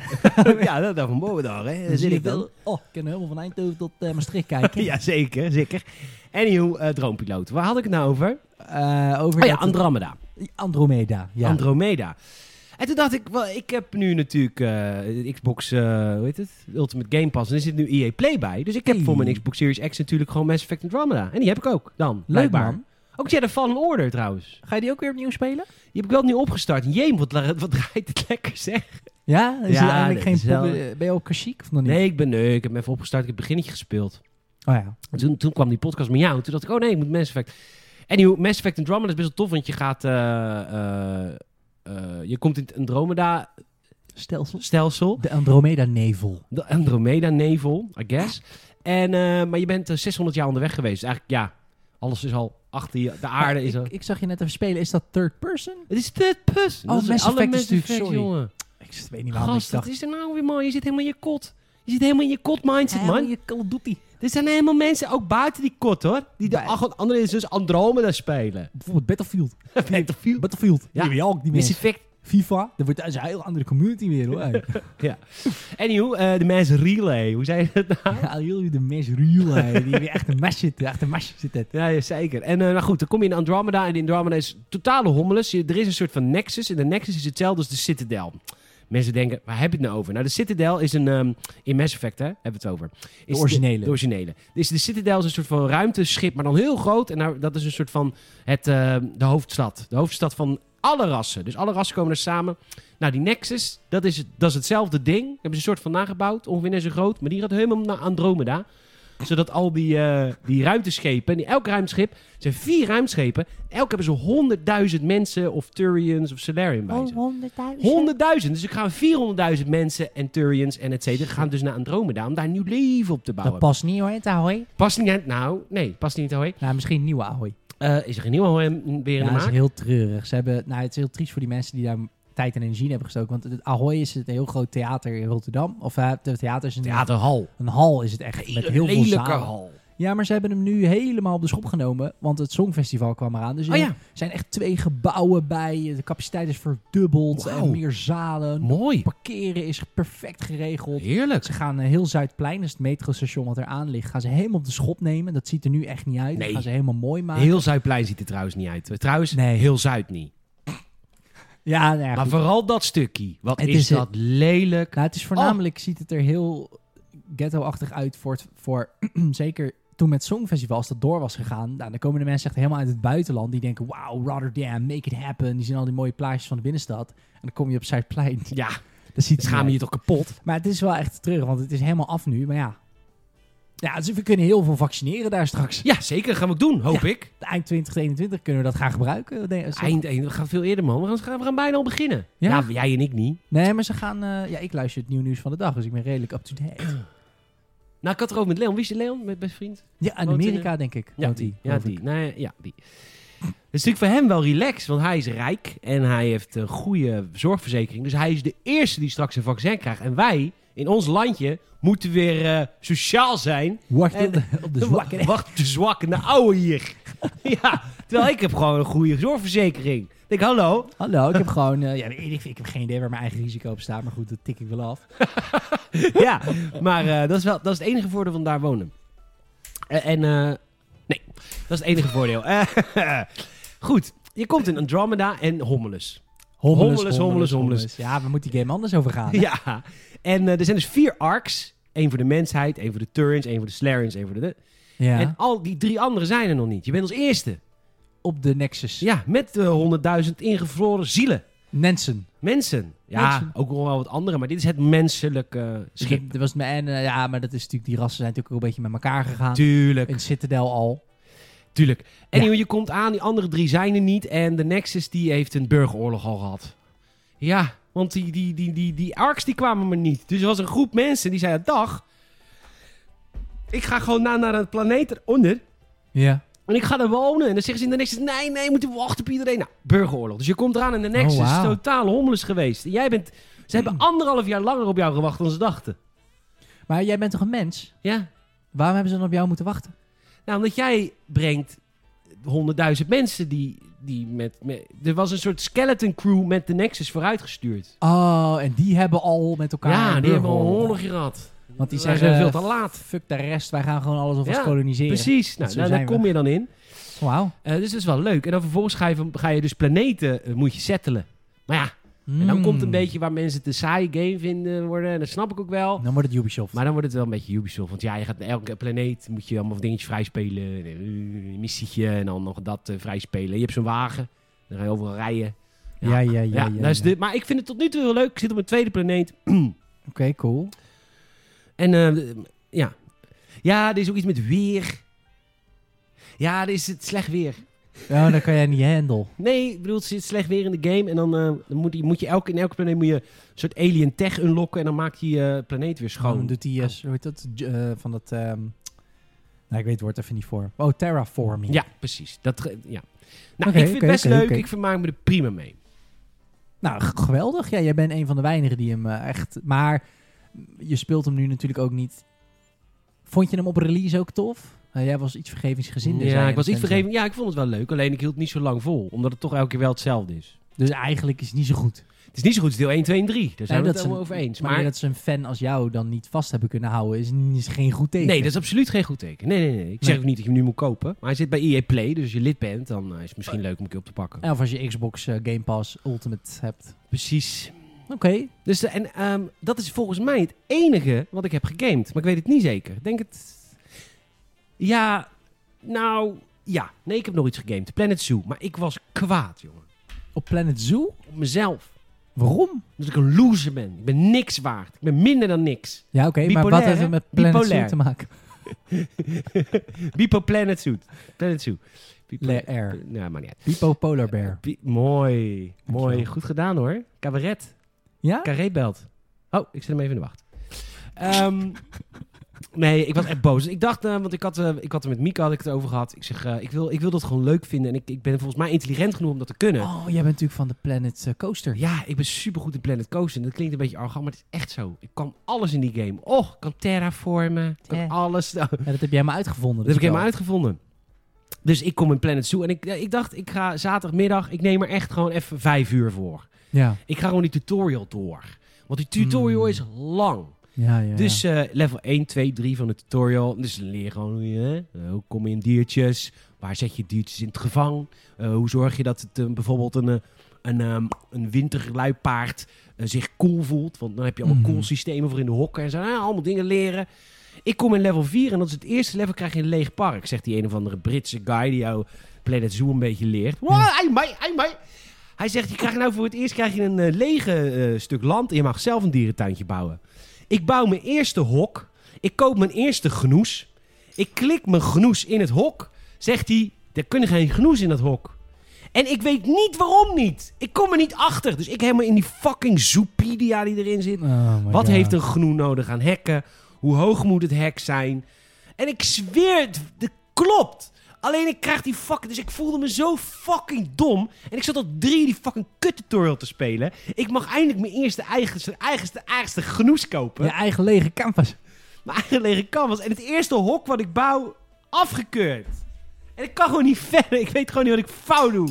[SPEAKER 1] [laughs]
[SPEAKER 2] hè.
[SPEAKER 1] ja, dat, dat van boven daar, hè. Daar
[SPEAKER 2] Dan zie
[SPEAKER 1] zit
[SPEAKER 2] je
[SPEAKER 1] ik dan.
[SPEAKER 2] wel- Oh, ik kan helemaal van Eindhoven tot eh, Maastricht kijken.
[SPEAKER 1] [laughs] Ja, zeker, zeker. Anywho, eh dronepiloot. Waar had ik het nou over?
[SPEAKER 2] Eh, over
[SPEAKER 1] Oh ja,
[SPEAKER 2] dat-
[SPEAKER 1] Andromeda.
[SPEAKER 2] Andromeda. Ja.
[SPEAKER 1] Andromeda. En toen dacht ik, wel, ik heb nu natuurlijk eh, Xbox, eh, hoe heet het? Ultimate Game Pass. En er zit nu EA Play bij. Dus ik heb voor mijn
[SPEAKER 2] Hey.
[SPEAKER 1] Xbox Series X natuurlijk gewoon Mass Effect Andromeda. En die heb ik ook dan.
[SPEAKER 2] Leuk
[SPEAKER 1] blijkbaar.
[SPEAKER 2] man.
[SPEAKER 1] Ook Jedi Fallen Order trouwens.
[SPEAKER 2] Ga je die ook weer opnieuw spelen?
[SPEAKER 1] Je hebt ik wel nu opgestart. Jeem, wat, la- [laughs] wat draait het lekker zeg.
[SPEAKER 2] Ja? Is
[SPEAKER 1] Ja,
[SPEAKER 2] er eigenlijk
[SPEAKER 1] dat
[SPEAKER 2] geen
[SPEAKER 1] is wel-
[SPEAKER 2] pop- eh, Ben je ook klassiek of nog niet?
[SPEAKER 1] Nee, ik ben nee, ik heb hem even opgestart. Ik heb het beginnetje gespeeld.
[SPEAKER 2] Oh ja.
[SPEAKER 1] En Toen, toen kwam die podcast met jou. En toen dacht ik, oh nee, ik moet Mass Effect. Anywho, Mass Effect Andromeda is best wel tof. Want je gaat... eh, eh, eh, je komt in het Andromeda-stelsel.
[SPEAKER 2] Stelsel. De Andromeda-nevel.
[SPEAKER 1] De Andromeda-nevel, I guess. En, eh, maar je bent eh, 600 jaar onderweg geweest. Dus eigenlijk, ja, alles is al achter je. De aarde
[SPEAKER 2] Maar
[SPEAKER 1] is al...
[SPEAKER 2] ik, ik zag je net even spelen. Is dat third person?
[SPEAKER 1] Het is third person.
[SPEAKER 2] Oh,
[SPEAKER 1] Dat
[SPEAKER 2] Mass
[SPEAKER 1] alle
[SPEAKER 2] Effect is
[SPEAKER 1] Mass
[SPEAKER 2] natuurlijk-
[SPEAKER 1] Effect,
[SPEAKER 2] sorry.
[SPEAKER 1] jongen.
[SPEAKER 2] Ik weet niet waarom
[SPEAKER 1] Gast,
[SPEAKER 2] ik
[SPEAKER 1] wat
[SPEAKER 2] dacht.
[SPEAKER 1] is er nou weer, man? Je zit helemaal in je kot. Je zit helemaal in je kot-mindset, man.
[SPEAKER 2] Je Call of Duty.
[SPEAKER 1] Er zijn helemaal mensen, ook buiten die kot, hoor. Die de
[SPEAKER 2] Bij-
[SPEAKER 1] ach- andere is dus Andromeda spelen.
[SPEAKER 2] Bijvoorbeeld Battlefield.
[SPEAKER 1] Battlefield.
[SPEAKER 2] Battlefield.
[SPEAKER 1] Ja.
[SPEAKER 2] Ja. Die ook niet
[SPEAKER 1] Mass
[SPEAKER 2] meer.
[SPEAKER 1] Effect.
[SPEAKER 2] FIFA. Dat wordt dat is een heel andere community weer [laughs] hoor.
[SPEAKER 1] Anywho, eh, de Mass Relay. Hoe zei je dat [laughs] nou?
[SPEAKER 2] ja, jullie de mes real. hè. Die weer echt een mes zitten. Echt een mesje zitten.
[SPEAKER 1] Ja, ja, zeker. En eh, nou goed, dan kom je in Andromeda. En in Andromeda is totale hommeles. Je- Er is een soort van nexus. En de nexus is hetzelfde als de Citadel. Mensen denken, waar heb je het nou over? Nou, de Citadel is een... ehm, in Mass Effect, hè, hebben we het over. Is
[SPEAKER 2] De originele.
[SPEAKER 1] De, originele. Dus de Citadel is een soort van ruimteschip, maar dan heel groot. En nou, dat is een soort van het, eh, de hoofdstad. De hoofdstad van alle rassen. Dus alle rassen komen er samen. Nou, die Nexus, dat is, dat is hetzelfde ding. Daar hebben ze een soort van nagebouwd. Ongeveer net zo groot. Maar die gaat helemaal naar Andromeda. Zodat al die, eh, die ruimteschepen... Die, elk ruimteschip... Het zijn vier ruimteschepen. Elk hebben ze honderdduizend mensen... of Turians of Solarium bij
[SPEAKER 2] Oh,
[SPEAKER 1] zich. 100.000. Dus ik gaan 400.000 mensen en Turians en et cetera gaan dus naar Andromeda om daar nieuw leven op te
[SPEAKER 2] Dat
[SPEAKER 1] bouwen.
[SPEAKER 2] past niet hoor, het Ahoy.
[SPEAKER 1] past niet aan- Nou, nee, past niet hoor.
[SPEAKER 2] Nou, misschien nieuwe Ahoy.
[SPEAKER 1] Eh is er een nieuwe hem weer in
[SPEAKER 2] Ja,
[SPEAKER 1] de
[SPEAKER 2] dat is
[SPEAKER 1] maak?
[SPEAKER 2] heel treurig. Ze hebben, nou, het is heel triest voor die mensen die daar tijd en energie in hebben gestoken. Want het Ahoy is het heel groot theater in Rotterdam. Of eh, het theater is een,
[SPEAKER 1] Theaterhal.
[SPEAKER 2] een hal is het echt. Met heel veel
[SPEAKER 1] Lelijke
[SPEAKER 2] zalen.
[SPEAKER 1] hal.
[SPEAKER 2] Ja, maar ze hebben hem nu helemaal op de schop genomen. Want het Songfestival kwam eraan. Dus
[SPEAKER 1] Oh
[SPEAKER 2] er
[SPEAKER 1] ja,
[SPEAKER 2] zijn echt twee gebouwen bij. De capaciteit is verdubbeld.
[SPEAKER 1] Wauw.
[SPEAKER 2] En meer zalen.
[SPEAKER 1] mooi.
[SPEAKER 2] Parkeren is perfect geregeld.
[SPEAKER 1] Heerlijk.
[SPEAKER 2] Ze gaan eh, heel Zuidplein, dus het metrostation wat eraan ligt, gaan ze helemaal op de schop nemen. Dat ziet er nu echt niet uit.
[SPEAKER 1] Nee.
[SPEAKER 2] Dat gaan ze helemaal mooi maken.
[SPEAKER 1] Heel Zuidplein ziet er trouwens niet uit. Trouwens,
[SPEAKER 2] Nee.
[SPEAKER 1] heel Zuid niet.
[SPEAKER 2] Ja, nou ja,
[SPEAKER 1] Maar
[SPEAKER 2] goed.
[SPEAKER 1] vooral dat stukje. Wat
[SPEAKER 2] Het
[SPEAKER 1] is,
[SPEAKER 2] is-
[SPEAKER 1] dat lelijk.
[SPEAKER 2] Nou, het is voornamelijk ziet het er heel ghetto-achtig uit voor, het- voor [clears throat] zeker toen met Songfestival, als dat door was gegaan, nou, dan komen de mensen echt helemaal uit het buitenland. Die denken, wauw, Rotterdam, make it happen. Die zien al die mooie plaatjes van de binnenstad. En dan kom je op Zuidplein.
[SPEAKER 1] [laughs] Ja, dus
[SPEAKER 2] Dat ziet
[SPEAKER 1] het
[SPEAKER 2] er
[SPEAKER 1] schaam je
[SPEAKER 2] niet
[SPEAKER 1] je toch kapot?
[SPEAKER 2] uit. Maar het is wel echt terug, want het is helemaal af nu. Maar ja, ja dus we kunnen heel veel vaccineren daar straks.
[SPEAKER 1] Ja, zeker. Gaan we ook doen, hoop ik.
[SPEAKER 2] Eind 2021 kunnen we dat gaan gebruiken. Nee, eh, zo-
[SPEAKER 1] Eind, eind, we gaan veel eerder, man. We gaan, we gaan bijna al beginnen.
[SPEAKER 2] Ja?
[SPEAKER 1] ja, jij en ik niet.
[SPEAKER 2] Nee, maar ze gaan... eh, ja, ik luister het nieuw nieuws van de dag, dus ik ben redelijk
[SPEAKER 1] [clears throat]
[SPEAKER 2] up-to-date.
[SPEAKER 1] Nou, ik had het erover met Leon. Wist je Leon, mijn beste vriend?
[SPEAKER 2] Ja, in
[SPEAKER 1] Woont in,
[SPEAKER 2] Amerika denk ik.
[SPEAKER 1] Ja,
[SPEAKER 2] woont
[SPEAKER 1] die.
[SPEAKER 2] hij,
[SPEAKER 1] Ja,
[SPEAKER 2] geloof ik.
[SPEAKER 1] die. Nee, ja, die. Het is natuurlijk voor hem wel relaxed, want hij is rijk en hij heeft een goede zorgverzekering. Dus hij is de eerste die straks een vaccin krijgt. En wij, in ons landje, moeten weer eh, sociaal zijn.
[SPEAKER 2] Wacht
[SPEAKER 1] En-
[SPEAKER 2] op de,
[SPEAKER 1] [laughs]
[SPEAKER 2] op de zwakke.
[SPEAKER 1] Wa- Wacht, op de zwakken, de ouwe
[SPEAKER 2] [laughs]
[SPEAKER 1] hier. ja, terwijl ik heb gewoon een goede zorgverzekering. Ik denk, hallo,
[SPEAKER 2] Hallo, [laughs] ik heb gewoon... eh, ja, weet ik, ik heb geen idee waar mijn eigen risico op staat, maar goed, dat tik ik wel af.
[SPEAKER 1] ja, maar eh, dat, is wel, dat is het enige voordeel van daar wonen. Eh, en, eh, nee, dat is het enige voordeel. Eh, [laughs] goed, je komt in Andromeda en Hommelus. Hommeles, hommeles, hommeles.
[SPEAKER 2] Ja, we moeten die game anders over [laughs] gaan. hè?
[SPEAKER 1] Ja, en eh, er zijn dus vier arcs. Eén voor de mensheid, één voor de Turins, één voor de Slarians, één voor de... de-
[SPEAKER 2] Ja.
[SPEAKER 1] En al die drie anderen zijn er nog niet. Je bent als eerste.
[SPEAKER 2] op de Nexus.
[SPEAKER 1] Ja, met eh, 100.000 ingevroren zielen.
[SPEAKER 2] Nansen.
[SPEAKER 1] Mensen. Ja,
[SPEAKER 2] Mensen.
[SPEAKER 1] ook nog wel wat andere, maar dit is het menselijke eh,
[SPEAKER 2] Dus
[SPEAKER 1] schip.
[SPEAKER 2] dat- dat was mijn, en, eh, ja, maar dat is natuurlijk... Die rassen zijn natuurlijk ook een beetje met elkaar gegaan.
[SPEAKER 1] Tuurlijk.
[SPEAKER 2] In Citadel al.
[SPEAKER 1] Tuurlijk. En je komt aan, die andere drie zijn er niet. En de Nexus die heeft een burgeroorlog al gehad. Ja, want die, die, die, die, die arcs die kwamen maar niet. Dus er was een groep mensen die zeiden, dag, ik ga gewoon naar, naar een planeet eronder.
[SPEAKER 2] Ja.
[SPEAKER 1] En ik ga daar wonen. En dan zeggen ze in de Nexus, nee, nee, moeten we wachten op iedereen. Nou, burgeroorlog. Dus je komt eraan en de Nexus
[SPEAKER 2] Oh, wauw. Mm.
[SPEAKER 1] is totaal homeless geweest. En jij bent, ze hebben anderhalf jaar langer op jou gewacht dan ze dachten.
[SPEAKER 2] Maar jij bent toch een mens?
[SPEAKER 1] Ja,
[SPEAKER 2] Waarom hebben ze dan op jou moeten wachten?
[SPEAKER 1] Nou, omdat jij brengt honderdduizend mensen die, die met, met- Er was een soort skeleton crew met de Nexus vooruitgestuurd.
[SPEAKER 2] Oh, en die hebben al met elkaar...
[SPEAKER 1] ja,
[SPEAKER 2] een
[SPEAKER 1] die hebben al een
[SPEAKER 2] burgeroorlog.
[SPEAKER 1] oorlog gehad.
[SPEAKER 2] Want die
[SPEAKER 1] Wij
[SPEAKER 2] zeggen, eh,
[SPEAKER 1] zijn veel te laat.
[SPEAKER 2] Fuck de rest, wij gaan gewoon alles alvast
[SPEAKER 1] Ja,
[SPEAKER 2] koloniseren.
[SPEAKER 1] Precies, nou,
[SPEAKER 2] zo
[SPEAKER 1] daar- daar
[SPEAKER 2] zijn dus we.
[SPEAKER 1] kom je dan in.
[SPEAKER 2] Wauw.
[SPEAKER 1] Eh, dus dat is wel leuk. En dan vervolgens ga je, ga je dus planeten, eh, moet je settelen. Maar ja, en dan
[SPEAKER 2] Hmm.
[SPEAKER 1] komt een beetje waar mensen het een saaie game vinden worden. En dat snap ik ook wel.
[SPEAKER 2] Dan wordt het Ubisoft.
[SPEAKER 1] Maar dan wordt het wel een beetje Ubisoft. Want ja, je gaat naar elke planeet, moet je allemaal dingetjes vrijspelen. En, eh, Een missietje en dan nog dat vrij vrijspelen. Je hebt zo'n wagen, dan ga je overal rijden. Ja,
[SPEAKER 2] ja, ja, ja.
[SPEAKER 1] Ja,
[SPEAKER 2] ja,
[SPEAKER 1] dat is
[SPEAKER 2] ja.
[SPEAKER 1] dit. Maar ik vind het tot nu toe heel leuk. Ik zit op mijn tweede planeet.
[SPEAKER 2] Oké, cool.
[SPEAKER 1] En eh, ja. Ja, er is ook iets met weer. Ja, er is het slecht weer.
[SPEAKER 2] Ja, Oh, dan kan jij niet handelen.
[SPEAKER 1] Nee, ik bedoel, het zit slecht weer in de game. En dan, eh, dan moet, je, moet je elke, in elke planeet moet je een soort alien tech unlocken. En dan maakt die eh, planeet weer
[SPEAKER 2] Dan
[SPEAKER 1] schoon.
[SPEAKER 2] doet hij, eh, hoe heet dat, J- eh, van dat... ehm, nou, ik weet het woord even niet voor. Oh, terraforming.
[SPEAKER 1] Ja, precies. Dat, ge- ja. Nou,
[SPEAKER 2] Oké,
[SPEAKER 1] ik vind
[SPEAKER 2] oké,
[SPEAKER 1] het best
[SPEAKER 2] oké,
[SPEAKER 1] leuk.
[SPEAKER 2] oké.
[SPEAKER 1] Ik vermaak me er prima mee.
[SPEAKER 2] Nou, g- geweldig. Ja, jij bent een van de weinigen die hem eh, echt... Maar je speelt hem nu natuurlijk ook niet... Vond je hem op release ook tof? Eh, jij was iets vergevingsgezinder. zei
[SPEAKER 1] ja,
[SPEAKER 2] je
[SPEAKER 1] ik was
[SPEAKER 2] net
[SPEAKER 1] iets
[SPEAKER 2] en zo.
[SPEAKER 1] vergeven. Ja, ik vond het wel leuk. Alleen ik hield het niet zo lang vol. Omdat het toch elke keer wel hetzelfde is.
[SPEAKER 2] Dus eigenlijk is het niet zo goed.
[SPEAKER 1] Het is niet zo goed als deel 1, 2 en 3. Daar zijn
[SPEAKER 2] Nee,
[SPEAKER 1] we het
[SPEAKER 2] dat ze-
[SPEAKER 1] helemaal over eens.
[SPEAKER 2] Maar, dat ze een fan als jou dan niet vast hebben kunnen houden, is, is geen goed teken.
[SPEAKER 1] Nee, dat is absoluut geen goed teken. Nee, nee, nee. Ik zeg
[SPEAKER 2] Nee.
[SPEAKER 1] ook niet dat je hem nu moet kopen. Maar hij zit bij EA Play, dus als je lid bent, dan eh, is het misschien leuk om een keer op te pakken.
[SPEAKER 2] Of als je Xbox eh, Game Pass Ultimate hebt.
[SPEAKER 1] Precies.
[SPEAKER 2] Oké, Oké.
[SPEAKER 1] Dus eh, en ehm, dat is volgens mij het enige wat ik heb gegamed. Maar ik weet het niet zeker. Ik denk het. Ja, nou ja. Nee, ik heb nog iets gegamed. Planet Zoo. Maar ik was kwaad, jongen.
[SPEAKER 2] Op Planet Zoo?
[SPEAKER 1] Op mezelf.
[SPEAKER 2] Waarom?
[SPEAKER 1] Dat ik een loser ben. Ik ben niks waard. Ik ben minder dan niks.
[SPEAKER 2] Ja, oké, maar wat
[SPEAKER 1] Bipolair,
[SPEAKER 2] heeft
[SPEAKER 1] hè?
[SPEAKER 2] het met Planet Zoo
[SPEAKER 1] Bipolair.
[SPEAKER 2] te maken?
[SPEAKER 1] Bipo Planet Zoo. Planet Zoo. Bipo-
[SPEAKER 2] Le Air.
[SPEAKER 1] Nou, maar niet uit.
[SPEAKER 2] Bipo Polar Bear.
[SPEAKER 1] Bi- mooi.
[SPEAKER 2] Dankjewel.
[SPEAKER 1] Mooi. Goed gedaan hoor. Cabaret.
[SPEAKER 2] Ja?
[SPEAKER 1] Carré belt. Oh, ik zet hem even in de wacht. Ehm, [laughs] nee, ik was echt boos. Ik dacht, eh, want ik had, eh, ik had er met Mika had ik het over gehad. Ik zeg, eh, ik, wil, ik wil dat gewoon leuk vinden. En ik, ik ben volgens mij intelligent genoeg om dat te kunnen.
[SPEAKER 2] Oh, jij bent natuurlijk van de Planet eh, Coaster.
[SPEAKER 1] Ja, ik ben supergoed in Planet Coaster. En Dat klinkt een beetje arrogant, maar het is echt zo. Ik kan alles in die game. Oh, ik kan terraformen. Ik kan
[SPEAKER 2] Ja.
[SPEAKER 1] alles. [laughs] Nou,
[SPEAKER 2] Ja, dat heb jij maar uitgevonden.
[SPEAKER 1] dat heb ik helemaal
[SPEAKER 2] wel.
[SPEAKER 1] uitgevonden. Dus ik kom in Planet Zoo. En ik, ik dacht, ik ga zaterdagmiddag... Ik neem er echt gewoon even vijf uur voor.
[SPEAKER 2] Ja.
[SPEAKER 1] Ik ga gewoon die tutorial door. Want die tutorial
[SPEAKER 2] Hmm.
[SPEAKER 1] is lang.
[SPEAKER 2] Ja, ja, ja.
[SPEAKER 1] Dus eh, level 1, 2, 3 van de tutorial. Dus dan leer je gewoon hoe je, eh, hoe kom je in diertjes. Waar zet je diertjes in het gevang? Eh, hoe zorg je dat het, eh, bijvoorbeeld een, eh, een, ehm, een winterluipaard eh, zich cool voelt? Want dan heb je allemaal
[SPEAKER 2] Mhm.
[SPEAKER 1] cool systemen voor in de hokken. En zo, ah, allemaal dingen leren. Ik kom in level 4 en dat is het eerste level krijg je een leeg park. Zegt die een of andere Britse guy die jou Planet Zoo een beetje leert. Wow, ai, mai, ai, mai. Hij zegt, je krijgt nou voor het eerst krijg je een eh, lege eh, stuk land en je mag zelf een dierentuintje bouwen. Ik bouw mijn eerste hok. Ik koop mijn eerste genoes. Ik klik mijn genoes in het hok. Zegt hij, er kunnen geen genoes in dat hok. En ik weet niet waarom niet. Ik kom er niet achter. Dus ik helemaal in die fucking Zoopedia die erin zit.
[SPEAKER 2] Oh my
[SPEAKER 1] Wat
[SPEAKER 2] God.
[SPEAKER 1] heeft een genoe nodig aan hekken? Hoe hoog moet het hek zijn? En ik zweer het, het klopt. Alleen ik krijg die fucking... Dus ik voelde me zo fucking dom. En ik zat al drie die fucking kut tutorial te spelen. Ik mag eindelijk mijn eerste eigenste, eigenste, eigenste genoes kopen.
[SPEAKER 2] Je eigen lege canvas.
[SPEAKER 1] Mijn eigen lege canvas. En het eerste hok wat ik bouw, afgekeurd. En ik kan gewoon niet [laughs] verder. Ik weet gewoon niet wat ik fout doe.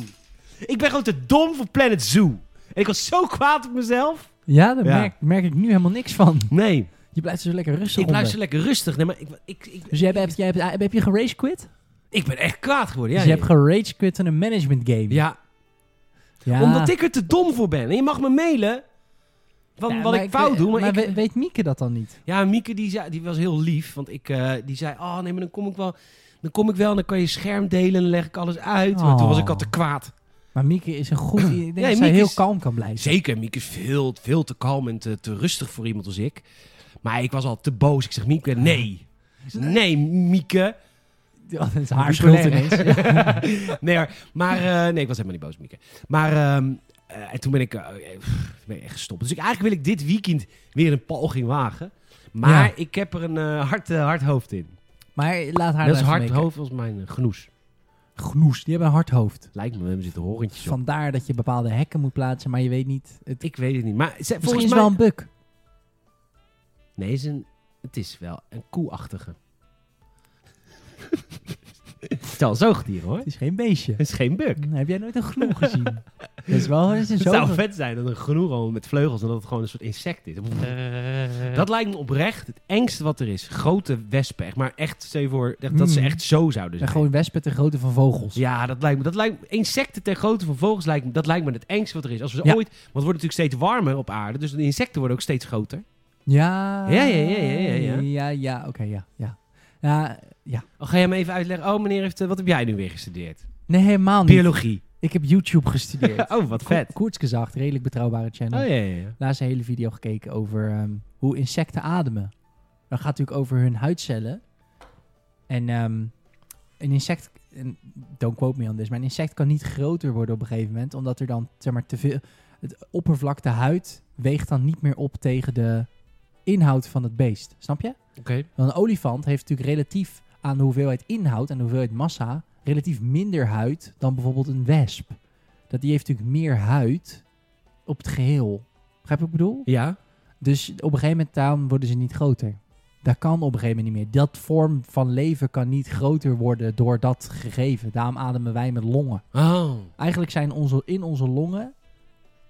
[SPEAKER 1] Ik ben gewoon te dom voor Planet Zoo. En ik was zo kwaad op mezelf.
[SPEAKER 2] Ja, daar
[SPEAKER 1] Ja.
[SPEAKER 2] Merk, merk ik nu helemaal niks van.
[SPEAKER 1] Nee,
[SPEAKER 2] Je blijft zo lekker rustig
[SPEAKER 1] ik
[SPEAKER 2] onder.
[SPEAKER 1] blijf zo lekker rustig. Nee, maar ik, ik, ik,
[SPEAKER 2] Dus jij hebt, jij hebt, heb, je gerage quit?
[SPEAKER 1] Ik ben echt kwaad geworden. Ja,
[SPEAKER 2] dus je hebt gerage quit in een management game.
[SPEAKER 1] ja,
[SPEAKER 2] Ja.
[SPEAKER 1] omdat ik er te dom voor ben. En je mag me mailen van
[SPEAKER 2] Ja,
[SPEAKER 1] wat
[SPEAKER 2] maar
[SPEAKER 1] ik fout
[SPEAKER 2] we-
[SPEAKER 1] doe. Maar,
[SPEAKER 2] maar
[SPEAKER 1] ik-
[SPEAKER 2] we- weet Mieke dat dan niet?
[SPEAKER 1] ja, Mieke die, zei, die was heel lief. Want ik, eh, die zei, oh nee, maar dan kom ik wel... Dan kom ik wel en dan kan je scherm delen en dan leg ik alles uit. Maar
[SPEAKER 2] Oh.
[SPEAKER 1] toen was ik al te kwaad.
[SPEAKER 2] Maar Mieke is een goed...
[SPEAKER 1] [clears throat]
[SPEAKER 2] Ik denk
[SPEAKER 1] Nee,
[SPEAKER 2] dat zij
[SPEAKER 1] Mieke
[SPEAKER 2] heel
[SPEAKER 1] is-
[SPEAKER 2] kalm kan blijven.
[SPEAKER 1] Zeker, Mieke is veel, veel te kalm en te, te rustig voor iemand als ik. Maar ik was al te boos. Ik zeg, Mieke, nee. Nee, Mieke.
[SPEAKER 2] Ja, [laughs] dat is haar schuld
[SPEAKER 1] Bipolair,
[SPEAKER 2] ineens.
[SPEAKER 1] hè? [laughs] nee, hoor. maar eh, nee, ik was helemaal niet boos, Mieke. Maar ehm, eh, en toen ben ik eh, eh, pff, ben ik echt gestopt. Dus ik, eigenlijk wil ik dit weekend weer een poging wagen. Maar
[SPEAKER 2] Ja.
[SPEAKER 1] ik heb er een eh, hard, eh, hard hoofd in.
[SPEAKER 2] Maar laat haar
[SPEAKER 1] Net zo
[SPEAKER 2] daar
[SPEAKER 1] hard
[SPEAKER 2] even mee.
[SPEAKER 1] hoofd als mijn eh, genoes.
[SPEAKER 2] Genoes, die hebben een hard hoofd.
[SPEAKER 1] Lijkt me, we zitten horentjes op.
[SPEAKER 2] Vandaar dat je bepaalde hekken moet plaatsen, maar je weet niet... Het,
[SPEAKER 1] Ik weet het niet. Maar ze,
[SPEAKER 2] misschien
[SPEAKER 1] volgens
[SPEAKER 2] is
[SPEAKER 1] mij...
[SPEAKER 2] wel een buk.
[SPEAKER 1] Nee, het is, een, het is wel een
[SPEAKER 2] [laughs]
[SPEAKER 1] koeachtige. het is wel een zoogdier, hoor.
[SPEAKER 2] Het is geen beestje.
[SPEAKER 1] Het is geen buk.
[SPEAKER 2] Hm, Heb jij nooit een
[SPEAKER 1] [laughs]
[SPEAKER 2] genoeg gezien? dat is wel dat is een
[SPEAKER 1] Het zou
[SPEAKER 2] zo'n...
[SPEAKER 1] vet zijn dat een genoeg al met vleugels en dat het gewoon een soort insect is.
[SPEAKER 2] Eh.
[SPEAKER 1] Dat lijkt me oprecht het engste wat er is. Grote wespen. Echt, maar echt, stel je voor echt, dat ze
[SPEAKER 2] Mm.
[SPEAKER 1] echt zo zouden
[SPEAKER 2] En
[SPEAKER 1] zijn.
[SPEAKER 2] gewoon wespen ter grootte van vogels.
[SPEAKER 1] Ja, dat lijkt me. Dat lijkt me- insecten ter grootte van vogels lijkt me. Dat lijkt me het engste wat er is. Als we ze
[SPEAKER 2] Ja.
[SPEAKER 1] ooit. Want het wordt natuurlijk steeds warmer op aarde. Dus de insecten worden ook steeds groter.
[SPEAKER 2] Ja.
[SPEAKER 1] Ja, ja, ja, ja, ja, ja.
[SPEAKER 2] Ja, ja, oké, ja, ja. Ja, ja.
[SPEAKER 1] Oh, ga jij me even uitleggen. Oh, meneer, heeft, eh, wat heb jij nu weer gestudeerd?
[SPEAKER 2] Nee, helemaal niet. [laughs]
[SPEAKER 1] Biologie.
[SPEAKER 2] Ik heb YouTube gestudeerd.
[SPEAKER 1] Oh, wat [laughs] vet.
[SPEAKER 2] Ko- Koerts gezegd, redelijk betrouwbare
[SPEAKER 1] Oh
[SPEAKER 2] channel.
[SPEAKER 1] ja, ja, ja.
[SPEAKER 2] Laatst een hele video gekeken over ehm, hoe insecten ademen. Dat gaat natuurlijk over hun huidcellen. En ehm, een insect, en don't quote me on this, maar een insect kan niet groter worden op een gegeven moment. Omdat er dan zeg maar, te veel, het oppervlakte huid weegt dan niet meer op tegen de inhoud van het beest. Snap je?
[SPEAKER 1] Oké.
[SPEAKER 2] Want een olifant heeft natuurlijk relatief aan de hoeveelheid inhoud en de hoeveelheid massa relatief minder huid dan bijvoorbeeld een wesp. Dat die heeft natuurlijk meer huid op het geheel. Begrijp je wat ik bedoel?
[SPEAKER 1] Ja.
[SPEAKER 2] Dus op een gegeven moment daarom worden ze niet groter. Dat kan op een gegeven moment niet meer. Dat vorm van leven kan niet groter worden door dat gegeven. Daarom ademen wij met longen.
[SPEAKER 1] Oh.
[SPEAKER 2] Eigenlijk zijn onze, in onze longen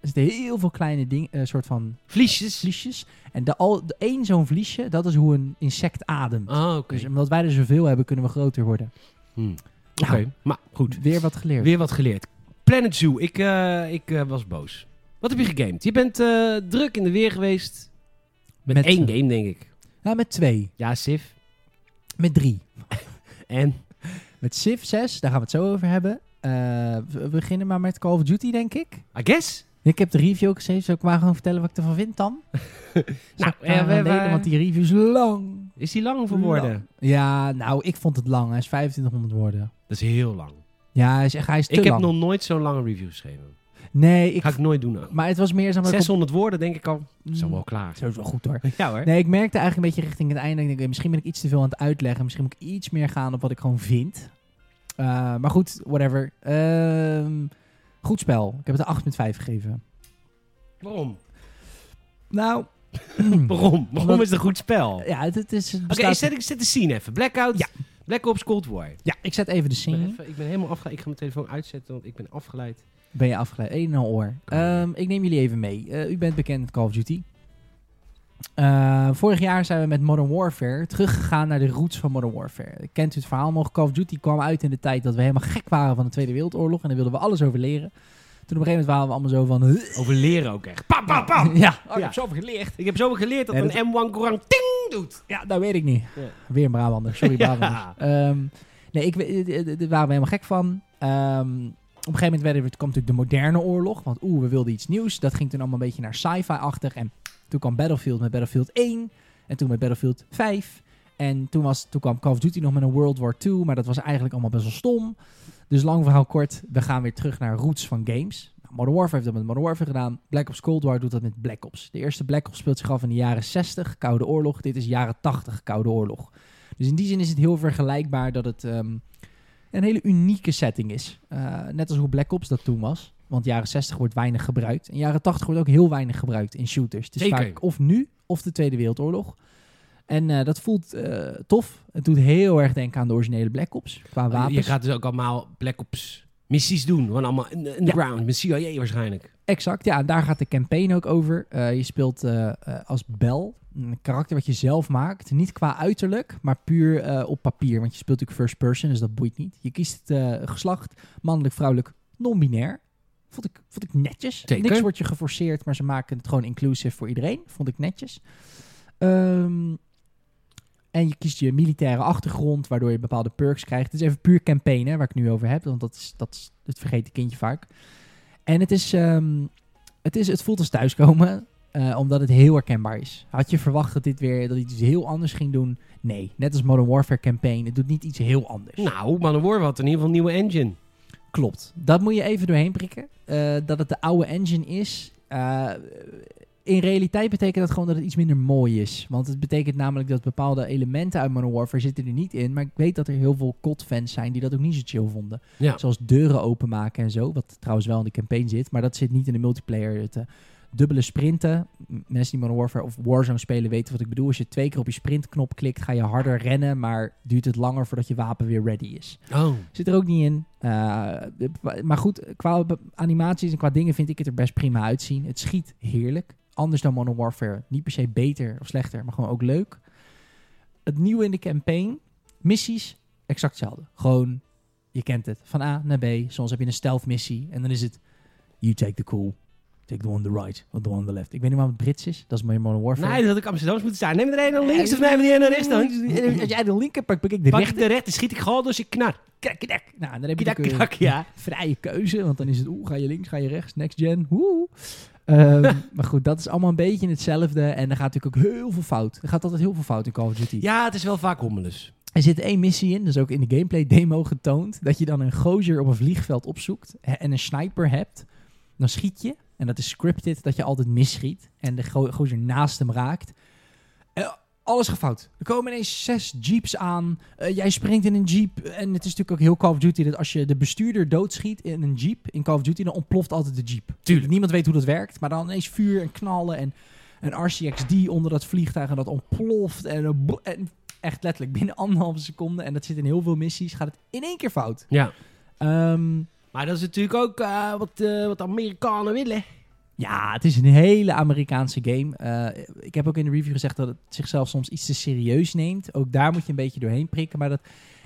[SPEAKER 2] zitten heel veel kleine dingen, eh soort van
[SPEAKER 1] Vliesjes.
[SPEAKER 2] vliesjes. En de, al, de één zo'n vliesje, dat is hoe een insect ademt.
[SPEAKER 1] Oh, oké.
[SPEAKER 2] Dus omdat wij er zoveel hebben, kunnen we groter worden.
[SPEAKER 1] Hmm. Oké.
[SPEAKER 2] Nou,
[SPEAKER 1] Maar goed.
[SPEAKER 2] Weer wat geleerd.
[SPEAKER 1] Weer wat geleerd. Planet Zoo. Ik, eh, ik eh, was boos. Wat heb je gegamed? Je bent eh, druk in de weer geweest. Met,
[SPEAKER 2] Met,
[SPEAKER 1] één
[SPEAKER 2] eh,
[SPEAKER 1] game, denk ik.
[SPEAKER 2] Nou, met twee.
[SPEAKER 1] Ja, Sif.
[SPEAKER 2] Met drie.
[SPEAKER 1] En?
[SPEAKER 2] Met Civ 6, daar gaan we het zo over hebben. Eh, we beginnen maar met Call of Duty, denk ik.
[SPEAKER 1] I guess?
[SPEAKER 2] Ik heb de review ook geschreven. Zal ik maar gewoon vertellen wat ik ervan
[SPEAKER 1] [laughs]
[SPEAKER 2] vind dan? Zal ik
[SPEAKER 1] eh,
[SPEAKER 2] daar aan
[SPEAKER 1] we- we-
[SPEAKER 2] delen? want die review is lang.
[SPEAKER 1] Is die lang voor woorden?
[SPEAKER 2] Ja, nou, ik vond het lang. Hij is 2500 woorden.
[SPEAKER 1] Dat is heel lang.
[SPEAKER 2] Ja, hij is, echt, hij is te
[SPEAKER 1] Ik heb
[SPEAKER 2] lang.
[SPEAKER 1] nog nooit zo'n lange review geschreven.
[SPEAKER 2] Nee, ik...
[SPEAKER 1] Ga ik nooit doen. ook.
[SPEAKER 2] Maar het was meer... Zeg maar,
[SPEAKER 1] 600 woorden, denk ik al.
[SPEAKER 2] Mm,
[SPEAKER 1] Zo wel
[SPEAKER 2] [laughs]
[SPEAKER 1] klaar.
[SPEAKER 2] Zo is wel goed hoor.
[SPEAKER 1] Ja hoor.
[SPEAKER 2] Nee, ik merkte eigenlijk een beetje richting het einde. Ik denk, eh, misschien ben ik iets te veel aan het uitleggen. Misschien moet ik iets meer gaan op wat ik gewoon vind. Eh, maar goed, whatever. Ehm, goed spel. Ik heb het een 8,5 gegeven.
[SPEAKER 1] Waarom?
[SPEAKER 2] Nou,
[SPEAKER 1] Waarom? Waarom
[SPEAKER 2] Omdat-
[SPEAKER 1] is het een goed spel? Oké,
[SPEAKER 2] ja, het, het is... het
[SPEAKER 1] ik
[SPEAKER 2] bestaat-
[SPEAKER 1] zet, ik zet de scene even. Blackout.
[SPEAKER 2] Ja. Mhm.
[SPEAKER 1] Black Ops Cold War.
[SPEAKER 2] ja, ik zet even de
[SPEAKER 1] Ik ben,
[SPEAKER 2] scene.
[SPEAKER 1] even, ik ben helemaal afgeleid. Ik ga mijn telefoon uitzetten, want ik ben afgeleid.
[SPEAKER 2] Ben je afgeleid? Eén en al oor.
[SPEAKER 1] Kom maar.
[SPEAKER 2] Ehm, ik neem jullie even mee. Eh, u bent bekend met Call of Duty. Eh, vorig jaar zijn we met Modern Warfare teruggegaan naar de roots van Modern Warfare. Kent u het verhaal nog? Call of Duty kwam uit in de tijd dat we helemaal gek waren van de Tweede Wereldoorlog. En daar wilden we alles over leren. Toen op een gegeven moment waren we allemaal zo van... "Huh?"
[SPEAKER 1] Over leren ook echt. Pam, pam, pam.
[SPEAKER 2] [laughs] Ja, oh,
[SPEAKER 1] Ja.
[SPEAKER 2] zoveel geleerd.
[SPEAKER 1] Ik heb zo geleerd dat
[SPEAKER 2] Nee,
[SPEAKER 1] een M1 Gorang ting doet.
[SPEAKER 2] Ja, dat weet ik niet.
[SPEAKER 1] Ja.
[SPEAKER 2] Weer een Brabander. Sorry,
[SPEAKER 1] [laughs] Ja.
[SPEAKER 2] Brabanders. Ehm, nee, ik, we- eh, eh, daar waren we helemaal gek van. Ehm, op een gegeven moment werden we, kwam natuurlijk de moderne oorlog. Want oeh, we wilden iets nieuws. Dat ging toen allemaal een beetje naar sci-fi-achtig. En toen kwam Battlefield met Battlefield 1. En toen met Battlefield 5. En toen, was, toen kwam Call of Duty nog met een World War 2. Maar dat was eigenlijk allemaal best wel stom. Dus lang verhaal kort. We gaan weer terug naar roots van games. Nou, Modern Warfare heeft dat met Modern Warfare gedaan. Black Ops Cold War doet dat met Black Ops. De eerste Black Ops speelt zich af in de jaren 60, Koude Oorlog. Dit is jaren 80, Koude Oorlog. Dus in die zin is het heel vergelijkbaar dat het ehm, een hele unieke setting is. Eh, net als hoe Black Ops dat toen was. Want jaren 60 wordt weinig gebruikt. En jaren 80 wordt ook heel weinig gebruikt in shooters. Het is
[SPEAKER 1] Zeker.
[SPEAKER 2] vaak of nu of de Tweede Wereldoorlog. En eh, dat voelt eh, tof. Het doet heel erg denken aan de originele Black Ops. Qua wapens.
[SPEAKER 1] Je gaat dus ook allemaal Black Ops missies doen. Gewoon allemaal in- underground. Met CIA waarschijnlijk.
[SPEAKER 2] Exact, ja. En daar gaat de campaign ook over. Eh, je speelt eh, eh, als Bel, een karakter wat je zelf maakt. Niet qua uiterlijk, maar puur eh, op papier. Want je speelt natuurlijk first person, dus dat boeit niet. Je kiest eh, geslacht, mannelijk, vrouwelijk, non-binair. Vond ik, vond ik netjes.
[SPEAKER 1] Zeker.
[SPEAKER 2] Niks wordt je geforceerd, maar ze maken het gewoon inclusief voor iedereen. Vond ik netjes. Ehm, en je kiest je militaire achtergrond, waardoor je bepaalde perks krijgt. Het is even puur campaign, hè, waar ik nu over heb. Want dat is, dat is het vergeten kindje vaak. En het is, ehm, het, is het voelt als thuiskomen, eh, omdat het heel herkenbaar is. Had je verwacht dat dit weer dat iets heel anders ging doen? Nee, net als Modern Warfare Campaign, het doet niet iets heel anders.
[SPEAKER 1] Nou, Man of War had in ieder geval een nieuwe engine.
[SPEAKER 2] Klopt. Dat moet je even doorheen prikken. Eh, dat het de oude engine is. Eh, in realiteit betekent dat gewoon dat het iets minder mooi is. Want het betekent namelijk dat bepaalde elementen uit Modern Warfare zitten er niet in. Maar ik weet dat er heel veel COD-fans zijn die dat ook niet zo chill vonden.
[SPEAKER 1] Ja.
[SPEAKER 2] Zoals deuren openmaken en zo. Wat trouwens wel in de campaign zit. Maar dat zit niet in de multiplayer. Het, eh, dubbele sprinten. M- Mensen die Modern Warfare of Warzone spelen weten wat ik bedoel. Als je twee keer op je sprintknop klikt, ga je harder rennen. Maar duurt het langer voordat je wapen weer ready is.
[SPEAKER 1] Oh.
[SPEAKER 2] Zit er ook niet in. Eh, de- maar goed, qua be- animaties en qua dingen vind ik het er best prima uitzien. Het schiet heerlijk. Anders dan Modern Warfare. Niet per se beter of slechter, maar gewoon ook leuk. Het nieuwe in de campaign. Missies, exact hetzelfde. Gewoon, je kent het. Van A naar B. Soms heb je een stealth missie. En dan is het, you take the cool. Take the one on the right, or the one on the left. Ik weet niet waarom het Brits is. Dat is meer Modern Warfare.
[SPEAKER 1] Nee, dat had ik Amsterdams moeten staan. Neem er een naar links of neem er een naar rechts [laughs] dan?
[SPEAKER 2] Als jij de linker pakt, pak ik de
[SPEAKER 1] Pak
[SPEAKER 2] rechter.
[SPEAKER 1] ik de rechter, schiet ik gewoon door zijn knar. Krak, krak,
[SPEAKER 2] Nou, dan heb je
[SPEAKER 1] krak,
[SPEAKER 2] natuurlijk, eh,
[SPEAKER 1] krak, ja.
[SPEAKER 2] [laughs] vrije keuze. Want dan is het, oeh, ga je links, ga je rechts, next gen, woe. Ehm, maar goed, dat is allemaal een beetje hetzelfde. En er gaat natuurlijk ook heel veel fout. Er gaat altijd heel veel fout in Call of Duty.
[SPEAKER 1] Ja, het is wel vaak hommelus.
[SPEAKER 2] Er zit één missie in, dus ook in de gameplay demo getoond. Dat je dan een gozer op een vliegveld opzoekt hè, en een sniper hebt. Dan schiet je. En dat is scripted, dat je altijd misschiet. En de go- gozer naast hem raakt. Eh, alles gefout. Er komen ineens zes jeeps aan. Eh, jij springt in een jeep. En het is natuurlijk ook heel Call of Duty dat als je de bestuurder doodschiet in een jeep in Call of Duty, dan ontploft altijd de jeep.
[SPEAKER 1] Tuurlijk.
[SPEAKER 2] Niemand weet hoe dat werkt, maar dan ineens vuur en knallen en een RCXD onder dat vliegtuig en dat ontploft. En, een bo- en echt letterlijk binnen [laughs] anderhalve seconde. En dat zit in heel veel missies. Gaat het in één keer fout.
[SPEAKER 1] Ja.
[SPEAKER 2] Ehm,
[SPEAKER 1] Maar dat is natuurlijk ook eh, wat, eh, wat de Amerikanen willen.
[SPEAKER 2] ja, het is een hele Amerikaanse game. Eh, ik heb ook in de review gezegd dat het zichzelf soms iets te serieus neemt. Ook daar moet je een beetje doorheen prikken. Maar dat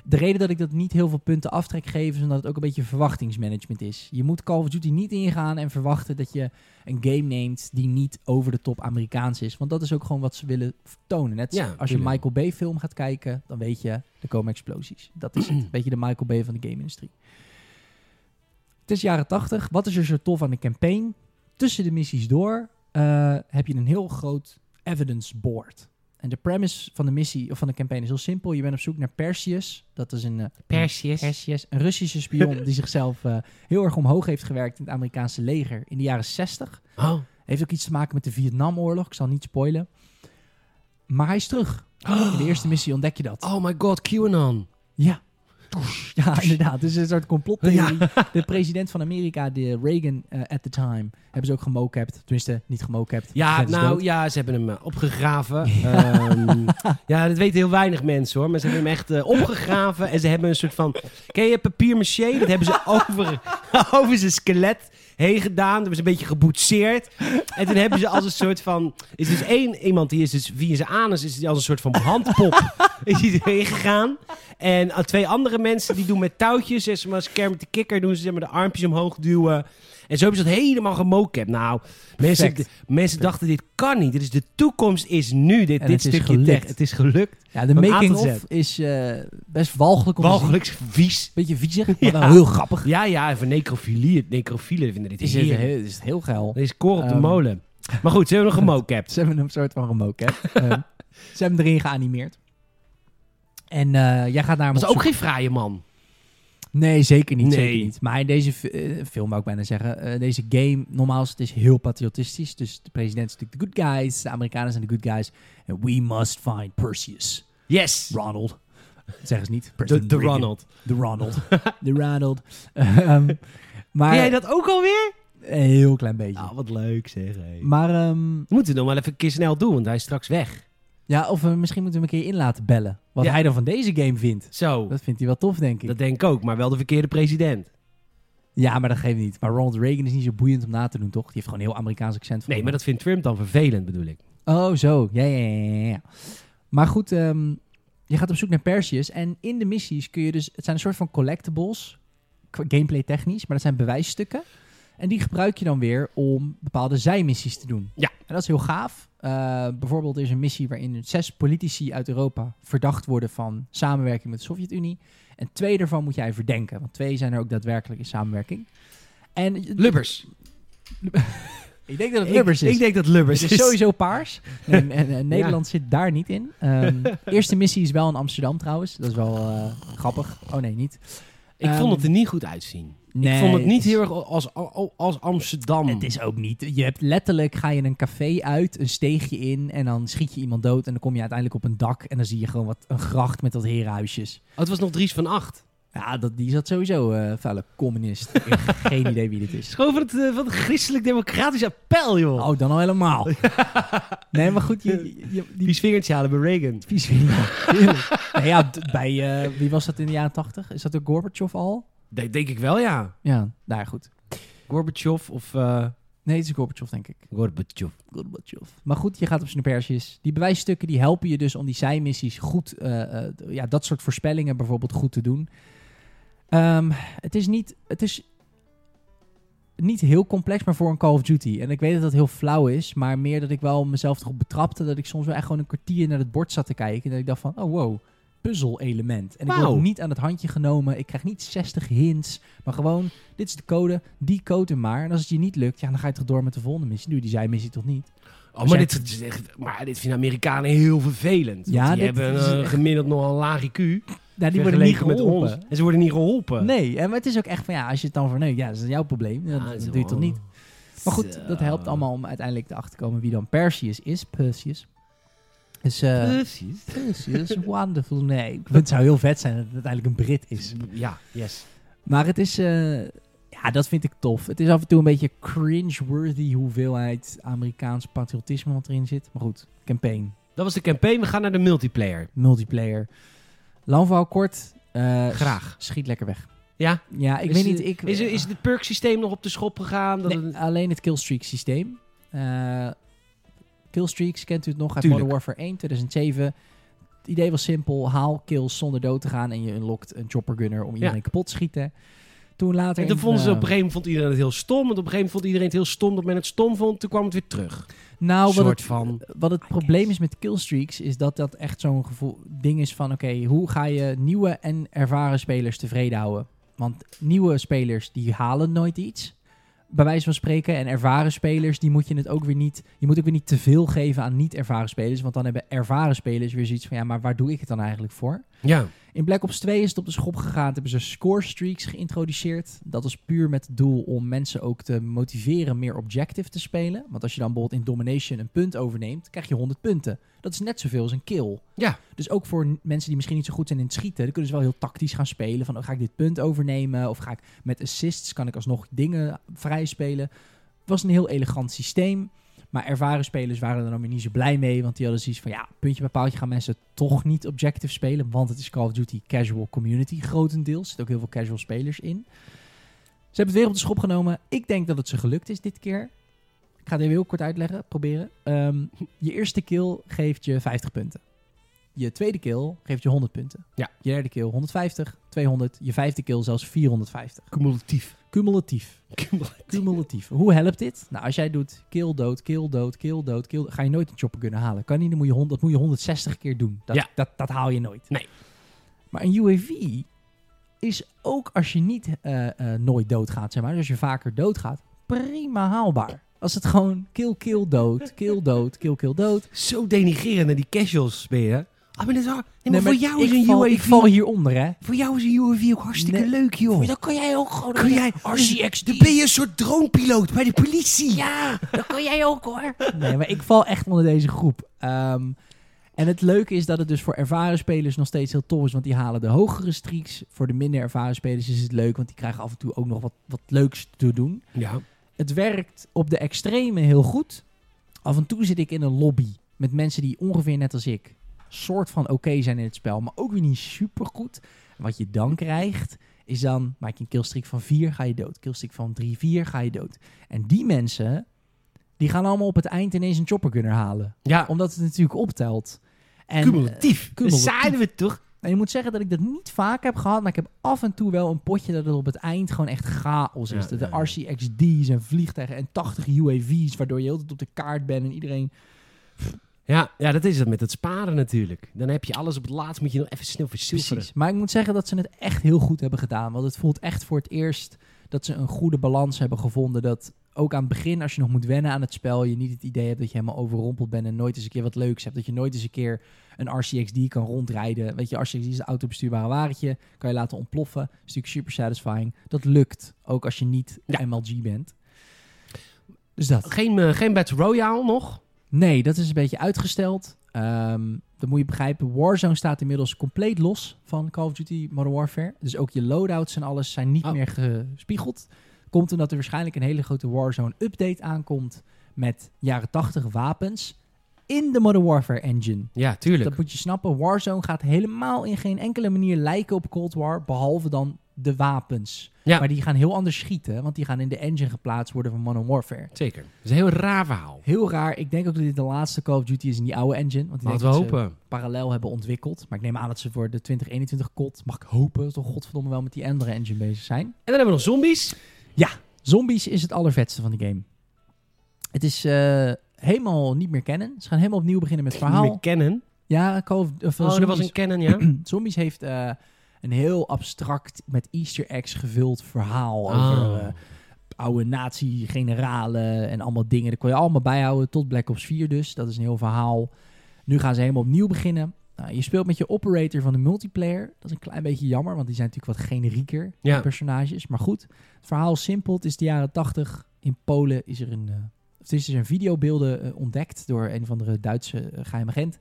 [SPEAKER 2] De reden dat ik dat niet heel veel punten aftrek geef, is omdat het ook een beetje verwachtingsmanagement is. Je moet Call of Duty niet ingaan en verwachten dat je een game neemt die niet over de top Amerikaans is. Want dat is ook gewoon wat ze willen tonen. Net
[SPEAKER 1] Ja,
[SPEAKER 2] als je een
[SPEAKER 1] tuurlijk.
[SPEAKER 2] Michael Bay film gaat kijken, dan weet je, er komen explosies. Dat is het.
[SPEAKER 1] [clears throat]
[SPEAKER 2] Een beetje de Michael Bay van de game-industrie. Het is jaren 80. Wat is er zo tof aan de campaign? Tussen de missies door eh, heb je een heel groot evidence board. En de premise van de missie of van de campaign is heel simpel. Je bent op zoek naar Perseus. Dat is een, eh,
[SPEAKER 1] Perseus.
[SPEAKER 2] Perseus, een Russische spion die zichzelf eh, heel erg omhoog heeft gewerkt in het Amerikaanse leger in de jaren 60.
[SPEAKER 1] Oh.
[SPEAKER 2] Heeft ook iets te maken met de Vietnamoorlog. Ik zal niet spoilen. Maar hij is terug. In de eerste missie ontdek je dat.
[SPEAKER 1] oh my god, QAnon.
[SPEAKER 2] Ja. [laughs] Ja, inderdaad. Dus een soort complottheorie. De president van Amerika, de Reagan eh, at the time, hebben ze ook gemocapt. Tenminste, niet gemocapt.
[SPEAKER 1] Ja,
[SPEAKER 2] Hij is
[SPEAKER 1] nou
[SPEAKER 2] dood.
[SPEAKER 1] ja, ze hebben hem eh, opgegraven.
[SPEAKER 2] [laughs]
[SPEAKER 1] Ehm, ja, dat weten heel weinig mensen hoor. Maar ze hebben hem echt eh, opgegraven. En ze hebben een soort van. Ken je papier maché? Dat
[SPEAKER 2] [laughs]
[SPEAKER 1] hebben ze over, over zijn skelet heen gedaan. Dat hebben ze een beetje geboetseerd. En toen hebben ze als een soort van. Is dus één iemand die is dus via zijn anus. Is die als een soort van
[SPEAKER 2] [laughs]
[SPEAKER 1] handpop. is die erheen gegaan. En eh, twee andere mensen die doen met touwtjes. Zeg maar, als Kermit de Kikker doen ze zeg maar, de armpjes omhoog duwen. En zo hebben ze dat helemaal gemocapt. Nou, mensen,
[SPEAKER 2] Perfect.
[SPEAKER 1] mensen dachten: dit kan niet. Dit is de toekomst is nu. Dit,
[SPEAKER 2] En
[SPEAKER 1] dit
[SPEAKER 2] het is
[SPEAKER 1] stukje
[SPEAKER 2] gelukt.
[SPEAKER 1] tech. Het is gelukt.
[SPEAKER 2] ja, de
[SPEAKER 1] Van A tot
[SPEAKER 2] making-of is eh, best walgelijk. Om te zien.
[SPEAKER 1] Walgelijks vies.
[SPEAKER 2] Beetje viezig, [laughs] maar wel
[SPEAKER 1] Ja.
[SPEAKER 2] heel grappig.
[SPEAKER 1] Ja, ja, en voor necrofilie. Necrofielen vinden dit
[SPEAKER 2] Is het,
[SPEAKER 1] heerlijk.
[SPEAKER 2] heel, is het heel geil.
[SPEAKER 1] Er is koor op de
[SPEAKER 2] Ehm,
[SPEAKER 1] molen. Maar goed, ze hebben
[SPEAKER 2] [laughs]
[SPEAKER 1] nog gemocapt.
[SPEAKER 2] Ze hebben hem een soort van [laughs] gemocapt. Ehm, ze hebben hem erin geanimeerd. En eh, jij gaat naar hem
[SPEAKER 1] Was
[SPEAKER 2] op
[SPEAKER 1] ook
[SPEAKER 2] zoek.
[SPEAKER 1] geen fraaie man.
[SPEAKER 2] Nee, zeker niet.
[SPEAKER 1] Nee.
[SPEAKER 2] Zeker niet. Maar in deze fi- eh, film, wou ik bijna zeggen, eh, deze game, normaal is het is heel patriotistisch. Dus de president is natuurlijk de good guys, de Amerikanen zijn de good guys. En we must find Perseus.
[SPEAKER 1] Yes.
[SPEAKER 2] Ronald. Dat zeggen ze niet.
[SPEAKER 1] De,
[SPEAKER 2] President
[SPEAKER 1] de
[SPEAKER 2] Reagan.
[SPEAKER 1] Ronald.
[SPEAKER 2] De Ronald. [laughs] de Ronald. Ehm, maar
[SPEAKER 1] Ken jij dat ook alweer?
[SPEAKER 2] een heel klein beetje.
[SPEAKER 1] Nou, wat leuk zeg. hé.
[SPEAKER 2] Maar ehm,
[SPEAKER 1] We moeten het nog wel even een keer snel doen, want hij is straks weg.
[SPEAKER 2] ja, of we misschien moeten we hem een keer in laten bellen. Wat
[SPEAKER 1] Ja.
[SPEAKER 2] hij dan van deze game vindt.
[SPEAKER 1] Zo, dat,
[SPEAKER 2] Dat vindt hij wel tof, denk ik.
[SPEAKER 1] denk ik ook, maar wel de verkeerde president.
[SPEAKER 2] Ja, maar dat geeft niet. Maar Ronald Reagan is niet zo boeiend om na te doen, toch? Die heeft gewoon een heel Amerikaans accent. voor
[SPEAKER 1] Nee, maar
[SPEAKER 2] hem.
[SPEAKER 1] dat vindt Trump dan vervelend, bedoel ik.
[SPEAKER 2] Oh, zo. Ja, ja, ja, ja, ja. Maar goed, ehm, je gaat op zoek naar Perseus. En in de missies kun je dus... Het zijn een soort van collectibles, qua gameplay technisch. Maar dat zijn bewijsstukken. En die gebruik je dan weer om bepaalde zijmissies te doen.
[SPEAKER 1] Ja.
[SPEAKER 2] En dat is heel gaaf. Eh, bijvoorbeeld er is een missie waarin zes politici uit Europa verdacht worden van samenwerking met de Sovjet-Unie. En twee daarvan moet jij verdenken. Want twee zijn er ook daadwerkelijk in samenwerking. En,
[SPEAKER 1] Lubbers.
[SPEAKER 2] Ik denk dat het
[SPEAKER 1] Ik-
[SPEAKER 2] Lubbers
[SPEAKER 1] ik,
[SPEAKER 2] is.
[SPEAKER 1] denk dat Lubbers
[SPEAKER 2] Het
[SPEAKER 1] is.
[SPEAKER 2] is sowieso paars. Nee, en, en- en Nederland zit daar niet in. Ehm, [laughs] eerste missie is wel in Amsterdam trouwens. Dat is wel eh, grappig. Oh nee, niet.
[SPEAKER 1] Ik vond het
[SPEAKER 2] Ehm,
[SPEAKER 1] er niet goed uitzien.
[SPEAKER 2] Nee,
[SPEAKER 1] ik vond het niet
[SPEAKER 2] is-
[SPEAKER 1] heel erg als, als, als Amsterdam.
[SPEAKER 2] Het is ook niet. Je hebt letterlijk ga je een café uit, een steegje in en dan schiet je iemand dood en dan kom je uiteindelijk op een dak en dan zie je gewoon wat een gracht met wat herenhuisjes.
[SPEAKER 1] Oh, het was nog Dries van Acht. Het
[SPEAKER 2] Ja, dat, die zat sowieso eh vuile communist. Ik heb
[SPEAKER 1] [laughs]
[SPEAKER 2] geen idee wie dit is.
[SPEAKER 1] is gewoon van het, eh, van het christelijk democratisch appel, joh.
[SPEAKER 2] Oh, dan al
[SPEAKER 1] [laughs]
[SPEAKER 2] helemaal. Nee, maar goed, je, je- je- die
[SPEAKER 1] die vingertje halen bij Reagan.
[SPEAKER 2] vies vind ik wel. Heerlijk. Nou ja, d- bij, eh, wie was dat in de jaren tachtig? Is dat de Gorbachev al?
[SPEAKER 1] Denk, denk ik wel, ja.
[SPEAKER 2] Ja, daar goed.
[SPEAKER 1] Gorbachev of... eh
[SPEAKER 2] Nee, het is Gorbachev, denk ik.
[SPEAKER 1] Gorbachev. Oh,
[SPEAKER 2] Gorbachev. Maar goed, je gaat op zijn persjes. Die bewijsstukken die helpen je dus om die zijmissies goed, eh, eh, d- ja, dat soort voorspellingen bijvoorbeeld goed te doen. Ehm, het is niet, het is niet heel complex, maar voor een Call of Duty. En ik weet dat dat heel flauw is, maar meer dat ik wel mezelf erop betrapte dat ik soms wel echt gewoon een kwartier naar het bord zat te kijken. En dat ik dacht van, oh wow, puzzel-element. En ik
[SPEAKER 1] Wauw.
[SPEAKER 2] word niet aan het handje genomen. Ik krijg niet 60 hints, maar gewoon, dit is de code, die code hem maar. En als het je niet lukt, ja, dan ga je toch door met de volgende missie. Doe je die zijmissie toch niet?
[SPEAKER 1] Oh, maar, dit, is echt- maar dit vinden Amerikanen heel vervelend.
[SPEAKER 2] Ja,
[SPEAKER 1] Ja, die
[SPEAKER 2] dit
[SPEAKER 1] hebben
[SPEAKER 2] is
[SPEAKER 1] eh,
[SPEAKER 2] echt-
[SPEAKER 1] gemiddeld nogal een laag IQ.
[SPEAKER 2] Nou, die worden niet
[SPEAKER 1] vergeleken
[SPEAKER 2] geholpen.
[SPEAKER 1] En ze worden niet geholpen.
[SPEAKER 2] Nee, en maar het is ook echt van ja, als je het dan verneukt, ja, dat is jouw probleem.
[SPEAKER 1] Ja,
[SPEAKER 2] Ja,
[SPEAKER 1] dat
[SPEAKER 2] dat
[SPEAKER 1] is
[SPEAKER 2] doe je toch
[SPEAKER 1] wel-
[SPEAKER 2] niet. Maar goed, dat helpt
[SPEAKER 1] Zo.
[SPEAKER 2] allemaal om uiteindelijk erachter te komen wie dan Perseus is. Perseus. Dus eh
[SPEAKER 1] Precies.
[SPEAKER 2] Perseus, [laughs] wonderful name. Het zou heel vet zijn dat het uiteindelijk een Brit is.
[SPEAKER 1] Ja, yes.
[SPEAKER 2] Maar het is, eh, ja, dat vind ik tof. Het is af en toe een beetje cringe-worthy hoeveelheid Amerikaans patriotisme wat erin zit. Maar goed, campaign.
[SPEAKER 1] Dat was de campaign. We gaan naar de multiplayer.
[SPEAKER 2] multiplayer. Lang verhaal kort. eh,
[SPEAKER 1] Graag.
[SPEAKER 2] s- Schiet lekker weg.
[SPEAKER 1] Ja?
[SPEAKER 2] Ja, ik
[SPEAKER 1] Is
[SPEAKER 2] weet
[SPEAKER 1] de-
[SPEAKER 2] niet. Ik,
[SPEAKER 1] Is, er- is het perk systeem nog op de schop gegaan? Dat
[SPEAKER 2] Nee,
[SPEAKER 1] het-
[SPEAKER 2] alleen het killstreak systeem. Eh, killstreaks kent u het nog uit
[SPEAKER 1] Tuurlijk.
[SPEAKER 2] Modern Warfare 1 2007. het idee was simpel. Haal kills zonder dood te gaan en je unlockt een chopper gunner om iedereen kapot te schieten. Toen later...
[SPEAKER 1] En toen
[SPEAKER 2] in,
[SPEAKER 1] vonden ze op
[SPEAKER 2] eh,
[SPEAKER 1] een gegeven moment vond iedereen het heel stom. En op een gegeven moment vond iedereen het heel stom dat men het stom vond. Toen kwam het weer terug.
[SPEAKER 2] nou, wat
[SPEAKER 1] soort
[SPEAKER 2] het,
[SPEAKER 1] van.
[SPEAKER 2] Wat het probleem is met killstreaks, is dat dat echt zo'n gevoel ding is van: oké, hoe ga je nieuwe en ervaren spelers tevreden houden? Want nieuwe spelers die halen nooit iets, bij wijze van spreken. En ervaren spelers, die moet je het ook weer niet. Je moet ook weer niet te veel geven aan niet-ervaren spelers. Want dan hebben ervaren spelers weer zoiets van: ja, maar waar doe ik het dan eigenlijk voor?
[SPEAKER 1] Ja.
[SPEAKER 2] In Black Ops 2 is het op de schop gegaan. Toen hebben ze scorestreaks geïntroduceerd. Dat is puur met het doel om mensen ook te motiveren meer objective te spelen. Want als je dan bijvoorbeeld in Domination een punt overneemt, krijg je 100 punten. Dat is net zoveel als een kill.
[SPEAKER 1] Ja.
[SPEAKER 2] Dus ook voor n- mensen die misschien niet zo goed zijn in het schieten, dan kunnen ze wel heel tactisch gaan spelen. Van oh, ga ik dit punt overnemen? Of ga ik met assists, kan ik alsnog dingen vrij spelen? Het was een heel elegant systeem. Maar ervaren spelers waren er dan weer niet zo blij mee. Want die hadden zoiets van, ja, puntje bij paaltje gaan mensen toch niet objective spelen. Want het is Call of Duty casual community grotendeels. Er zitten ook heel veel casual spelers in. Ze hebben het weer op de schop genomen. Ik denk dat het ze gelukt is dit keer. Ik ga het even heel kort uitleggen, proberen. Ehm, je eerste kill geeft je 50 punten. Je tweede kill geeft je 100 punten.
[SPEAKER 1] Ja.
[SPEAKER 2] Je derde kill 150, 200. Je vijfde kill zelfs 450.
[SPEAKER 1] Cumulatief.
[SPEAKER 2] Cumulatief. Cumulatief. Hoe helpt dit? Nou, als jij doet kill dood, kill dood, kill dood, kill ga je nooit een chopper kunnen halen. Kan niet, dan moet je, hond- dat moet je 160 keer doen. Dat,
[SPEAKER 1] Ja.
[SPEAKER 2] dat, dat haal je nooit.
[SPEAKER 1] Nee.
[SPEAKER 2] Maar een UAV is ook als je niet eh, eh, nooit doodgaat, zeg maar, dus als je vaker doodgaat, prima haalbaar. Als het gewoon kill, kill, dood, kill, dood, kill, kill, dood.
[SPEAKER 1] [laughs] Zo denigrerend naar die casuals ben je. hè? Ah, maar dat is waar. Nee, maar voor
[SPEAKER 2] Nee, maar
[SPEAKER 1] jou
[SPEAKER 2] ik
[SPEAKER 1] is een
[SPEAKER 2] val,
[SPEAKER 1] UAV...
[SPEAKER 2] Ik val hieronder, hè.
[SPEAKER 1] Voor jou is een UAV ook hartstikke
[SPEAKER 2] Nee.
[SPEAKER 1] leuk, joh.
[SPEAKER 2] Dan kan jij ook gewoon...
[SPEAKER 1] Kun jij...
[SPEAKER 2] RCX
[SPEAKER 1] Dan ben je een soort dronepiloot bij de politie.
[SPEAKER 2] Ja, dat kan jij ook hoor. Nee, maar ik val echt onder deze groep. Ehm, en het leuke is dat het dus voor ervaren spelers nog steeds heel tof is, want die halen de hogere streaks. Voor de minder ervaren spelers is het leuk, want die krijgen af en toe ook nog wat, wat leuks te doen.
[SPEAKER 1] Ja.
[SPEAKER 2] Het werkt op de extreme heel goed. Af en toe zit ik in een lobby met mensen die ongeveer net als ik soort van oké zijn in het spel, maar ook weer niet super goed. Wat je dan krijgt is dan maak je een killstreak van 4, ga je dood. Killstreak van 3, 4, ga je dood. En die mensen die gaan allemaal op het eind ineens een chopper kunnen halen,
[SPEAKER 1] Ja.
[SPEAKER 2] omdat het natuurlijk optelt. En,
[SPEAKER 1] Cumulatief. Dat
[SPEAKER 2] cumulatief.
[SPEAKER 1] zeiden we toch?
[SPEAKER 2] en je moet zeggen dat ik dat niet vaak heb gehad, maar ik heb af en toe wel een potje dat het op het eind gewoon echt chaos is.
[SPEAKER 1] Ja,
[SPEAKER 2] dat
[SPEAKER 1] ja, ja.
[SPEAKER 2] de RCXD's en vliegtuigen en 80 UAV's, waardoor je heel de tijd op de kaart bent en iedereen...
[SPEAKER 1] Ja, ja, dat is het met het sparen natuurlijk. Dan heb je alles op het laatst, moet je nog even snel verzilveren.
[SPEAKER 2] Precies. Maar ik moet zeggen dat ze het echt heel goed hebben gedaan, want het voelt echt voor het eerst dat ze een goede balans hebben gevonden dat... Ook aan het begin, als je nog moet wennen aan het spel, je niet het idee hebt dat je helemaal overrompeld bent en nooit eens een keer wat leuks hebt. Dat je nooit eens een keer een RCXD kan rondrijden. Weet je, RCXD is een autobestuurbare wagentje. Kan je laten ontploffen. Is natuurlijk super satisfying. Dat lukt. Ook als je niet
[SPEAKER 1] Ja.
[SPEAKER 2] MLG bent. Dus dat.
[SPEAKER 1] Geen, eh, geen Battle Royale nog.
[SPEAKER 2] Nee, dat is een beetje uitgesteld. Ehm dat moet je begrijpen. Warzone staat inmiddels compleet los van Call of Duty Modern Warfare. Dus ook je loadouts en alles zijn niet
[SPEAKER 1] Oh.
[SPEAKER 2] meer gespiegeld. Komt omdat er waarschijnlijk een hele grote Warzone-update aankomt met jaren 80 wapens in de Modern Warfare engine.
[SPEAKER 1] Ja, tuurlijk.
[SPEAKER 2] Dat moet je snappen. Warzone gaat helemaal in geen enkele manier lijken op Cold War, behalve dan de wapens.
[SPEAKER 1] Ja.
[SPEAKER 2] Maar die gaan heel anders schieten, want die gaan in de engine geplaatst worden van Modern Warfare.
[SPEAKER 1] Zeker. Dat is een heel raar verhaal.
[SPEAKER 2] Heel raar. Ik denk ook dat dit de laatste Call of Duty is in die oude engine. Want ik denk
[SPEAKER 1] Laten we
[SPEAKER 2] dat ze
[SPEAKER 1] hopen.
[SPEAKER 2] parallel hebben ontwikkeld. Maar ik neem aan dat ze voor de 2021 kot, mag ik hopen, dat ze toch godverdomme wel met die andere engine bezig zijn.
[SPEAKER 1] En dan hebben we nog zombies.
[SPEAKER 2] Zombies is het allervetste van de game. Het is eh, helemaal niet meer kennen. Ze gaan helemaal opnieuw beginnen met het
[SPEAKER 1] Niet meer
[SPEAKER 2] verhaal.
[SPEAKER 1] Canon.
[SPEAKER 2] Ja, Call of, of,
[SPEAKER 1] Oh, dat was
[SPEAKER 2] Zombies-
[SPEAKER 1] een Canon, ja.
[SPEAKER 2] Zombies heeft eh, een heel abstract met easter eggs gevuld verhaal over eh, oude nazi-generalen en allemaal dingen. Dat kon je allemaal bijhouden tot Black Ops 4 dus. Dat is een heel verhaal. Nu gaan ze helemaal opnieuw beginnen. Nou, je speelt met je operator van de multiplayer. Dat is een klein beetje jammer, want die zijn natuurlijk wat generieker, die
[SPEAKER 1] Ja.
[SPEAKER 2] personages. Maar goed, het verhaal is simpel. Het is de jaren 80. In Polen is er een... eh, of er is dus een videobeelden eh, ontdekt door een of andere Duitse eh, geheime agent.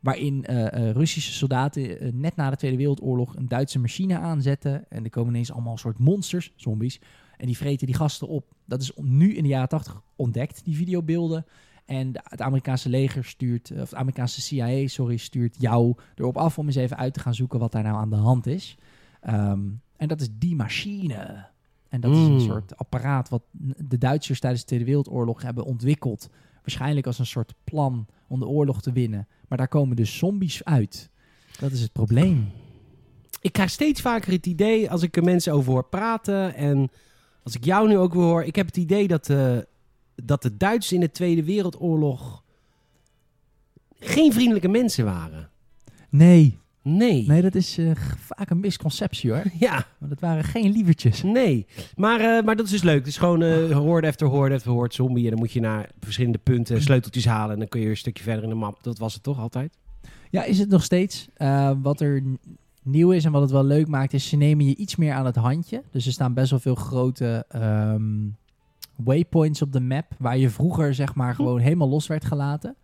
[SPEAKER 2] Waarin eh, eh, Russische soldaten eh, net na de Tweede Wereldoorlog een Duitse machine aanzetten. En er komen ineens allemaal soort monsters, zombies. En die vreten die gasten op. Dat is on- nu in de jaren tachtig ontdekt, die videobeelden. En de- het Amerikaanse leger stuurt, eh, of de Amerikaanse CIA, sorry, stuurt jou erop af om eens even uit te gaan zoeken wat daar nou aan de hand is. Ehm, en dat is die machine. En dat is
[SPEAKER 1] Mm.
[SPEAKER 2] een soort apparaat wat n- de Duitsers tijdens de Tweede Wereldoorlog hebben ontwikkeld. Waarschijnlijk als een soort plan om de oorlog te winnen. Maar daar komen dus zombies uit. Dat is het probleem.
[SPEAKER 1] Ik krijg steeds vaker het idee, als ik er mensen over hoor praten... en als ik jou nu ook weer hoor... ik heb het idee dat, eh, dat de Duitsers in de Tweede Wereldoorlog... geen vriendelijke mensen waren.
[SPEAKER 2] Nee,
[SPEAKER 1] Nee.
[SPEAKER 2] nee dat is eh, g- vaak een misconceptie [laughs] hoor.
[SPEAKER 1] Ja.
[SPEAKER 2] Want het waren geen lievertjes.
[SPEAKER 1] Nee, maar, eh, maar dat is dus leuk. Het is gewoon eh hoorde after hoorde after hoorde zombie. En dan moet je naar verschillende punten sleuteltjes halen. En dan kun je een stukje verder in de map. Dat was het toch altijd?
[SPEAKER 2] Ja, is het nog steeds. Eh, wat er n- nieuw is en wat het wel leuk maakt, is ze nemen je iets meer aan het handje. Dus er staan best wel veel grote ehm, waypoints op de map, waar je vroeger zeg maar gewoon helemaal los werd gelaten.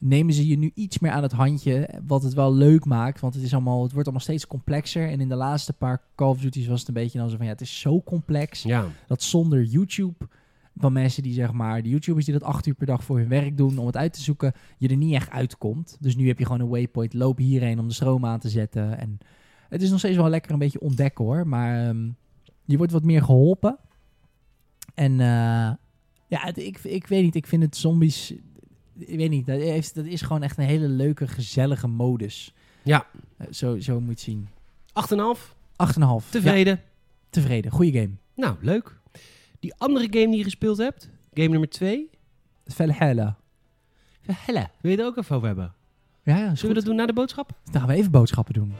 [SPEAKER 2] Nemen ze je nu iets meer aan het handje, wat het wel leuk maakt, want het, is allemaal, het wordt allemaal steeds complexer. En in de laatste paar Call of Duty's was het een beetje dan zo van, ja, het is zo complex
[SPEAKER 1] Ja.
[SPEAKER 2] dat zonder YouTube, van mensen die zeg maar, de YouTubers die dat acht uur per dag voor hun werk doen om het uit te zoeken, je er niet echt uitkomt. Dus nu heb je gewoon een waypoint, loop hierheen om de stroom aan te zetten. En het is nog steeds wel lekker een beetje ontdekken hoor, maar ehm, je wordt wat meer geholpen. En eh, ja, het- ik, ik weet niet, ik vind het zombies, ik weet niet, dat, heeft, dat is gewoon echt een hele leuke, gezellige modus.
[SPEAKER 1] Ja.
[SPEAKER 2] Eh, Zo, zo moet je het zien.
[SPEAKER 1] 8,5.
[SPEAKER 2] 8,5. Ja,
[SPEAKER 1] Tevreden.
[SPEAKER 2] tevreden. Goeie game.
[SPEAKER 1] Nou, leuk. Die andere game die je gespeeld hebt. Game nummer 2.
[SPEAKER 2] Valhalla.
[SPEAKER 1] Helle. Wil je het ook even over hebben?
[SPEAKER 2] Ja, ja,
[SPEAKER 1] Zullen
[SPEAKER 2] is
[SPEAKER 1] we
[SPEAKER 2] goed.
[SPEAKER 1] dat doen na de boodschap?
[SPEAKER 2] Dan gaan we even boodschappen doen.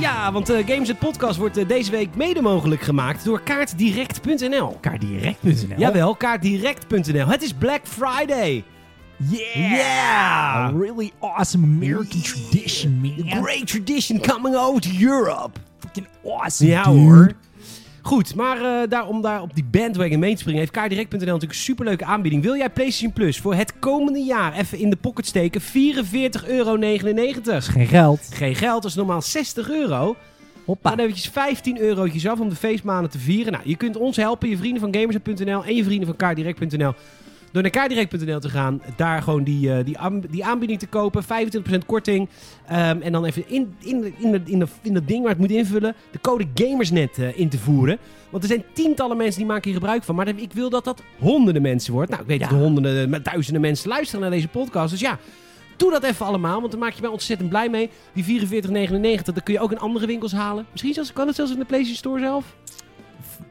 [SPEAKER 1] Ja, want eh, Games het Podcast wordt eh, deze week mede mogelijk gemaakt door kaartdirect.nl.
[SPEAKER 2] Kaardirect.nl.
[SPEAKER 1] Jawel, kaartdirect.nl. Het is Black Friday.
[SPEAKER 2] Yeah.
[SPEAKER 1] Yeah!
[SPEAKER 2] A really awesome American
[SPEAKER 1] Yeah.
[SPEAKER 2] tradition, man.
[SPEAKER 1] Great tradition coming over to Europe.
[SPEAKER 2] Fucking awesome,
[SPEAKER 1] Ja
[SPEAKER 2] dude.
[SPEAKER 1] hoor. Goed, maar eh, daar, om daar op die bandwagon mee te springen... heeft kaardirect.nl natuurlijk een superleuke aanbieding. Wil jij PlayStation Plus voor het komende jaar even in de pocket steken? 44,99 euro.
[SPEAKER 2] Geen geld.
[SPEAKER 1] Geen geld, dat is normaal 60 euro.
[SPEAKER 2] Hoppa.
[SPEAKER 1] Maar dan eventjes 15 eurotjes af om de feestmaanden te vieren. Nou, je kunt ons helpen, je vrienden van Gamers.nl en je vrienden van kaardirect.nl... door naar kaardirect.nl te gaan, daar gewoon die, eh, die, aan- die aanbieding te kopen. 25% korting. Ehm, en dan even in, in, in, dat- in, dat- in dat ding waar het moet invullen, de code GAMERSNET eh, in te voeren. Want er zijn tientallen mensen die maken hier gebruik van. Maar ik wil dat dat honderden mensen wordt. Nou, ik weet
[SPEAKER 2] Ja.
[SPEAKER 1] dat er honderden, maar duizenden mensen luisteren naar deze podcast. Dus ja, doe dat even allemaal. Want dan maak je mij ontzettend blij mee. Die 44,99, dat kun je ook in andere winkels halen. Misschien zelfs, kan het zelfs in de PlayStation Store zelf.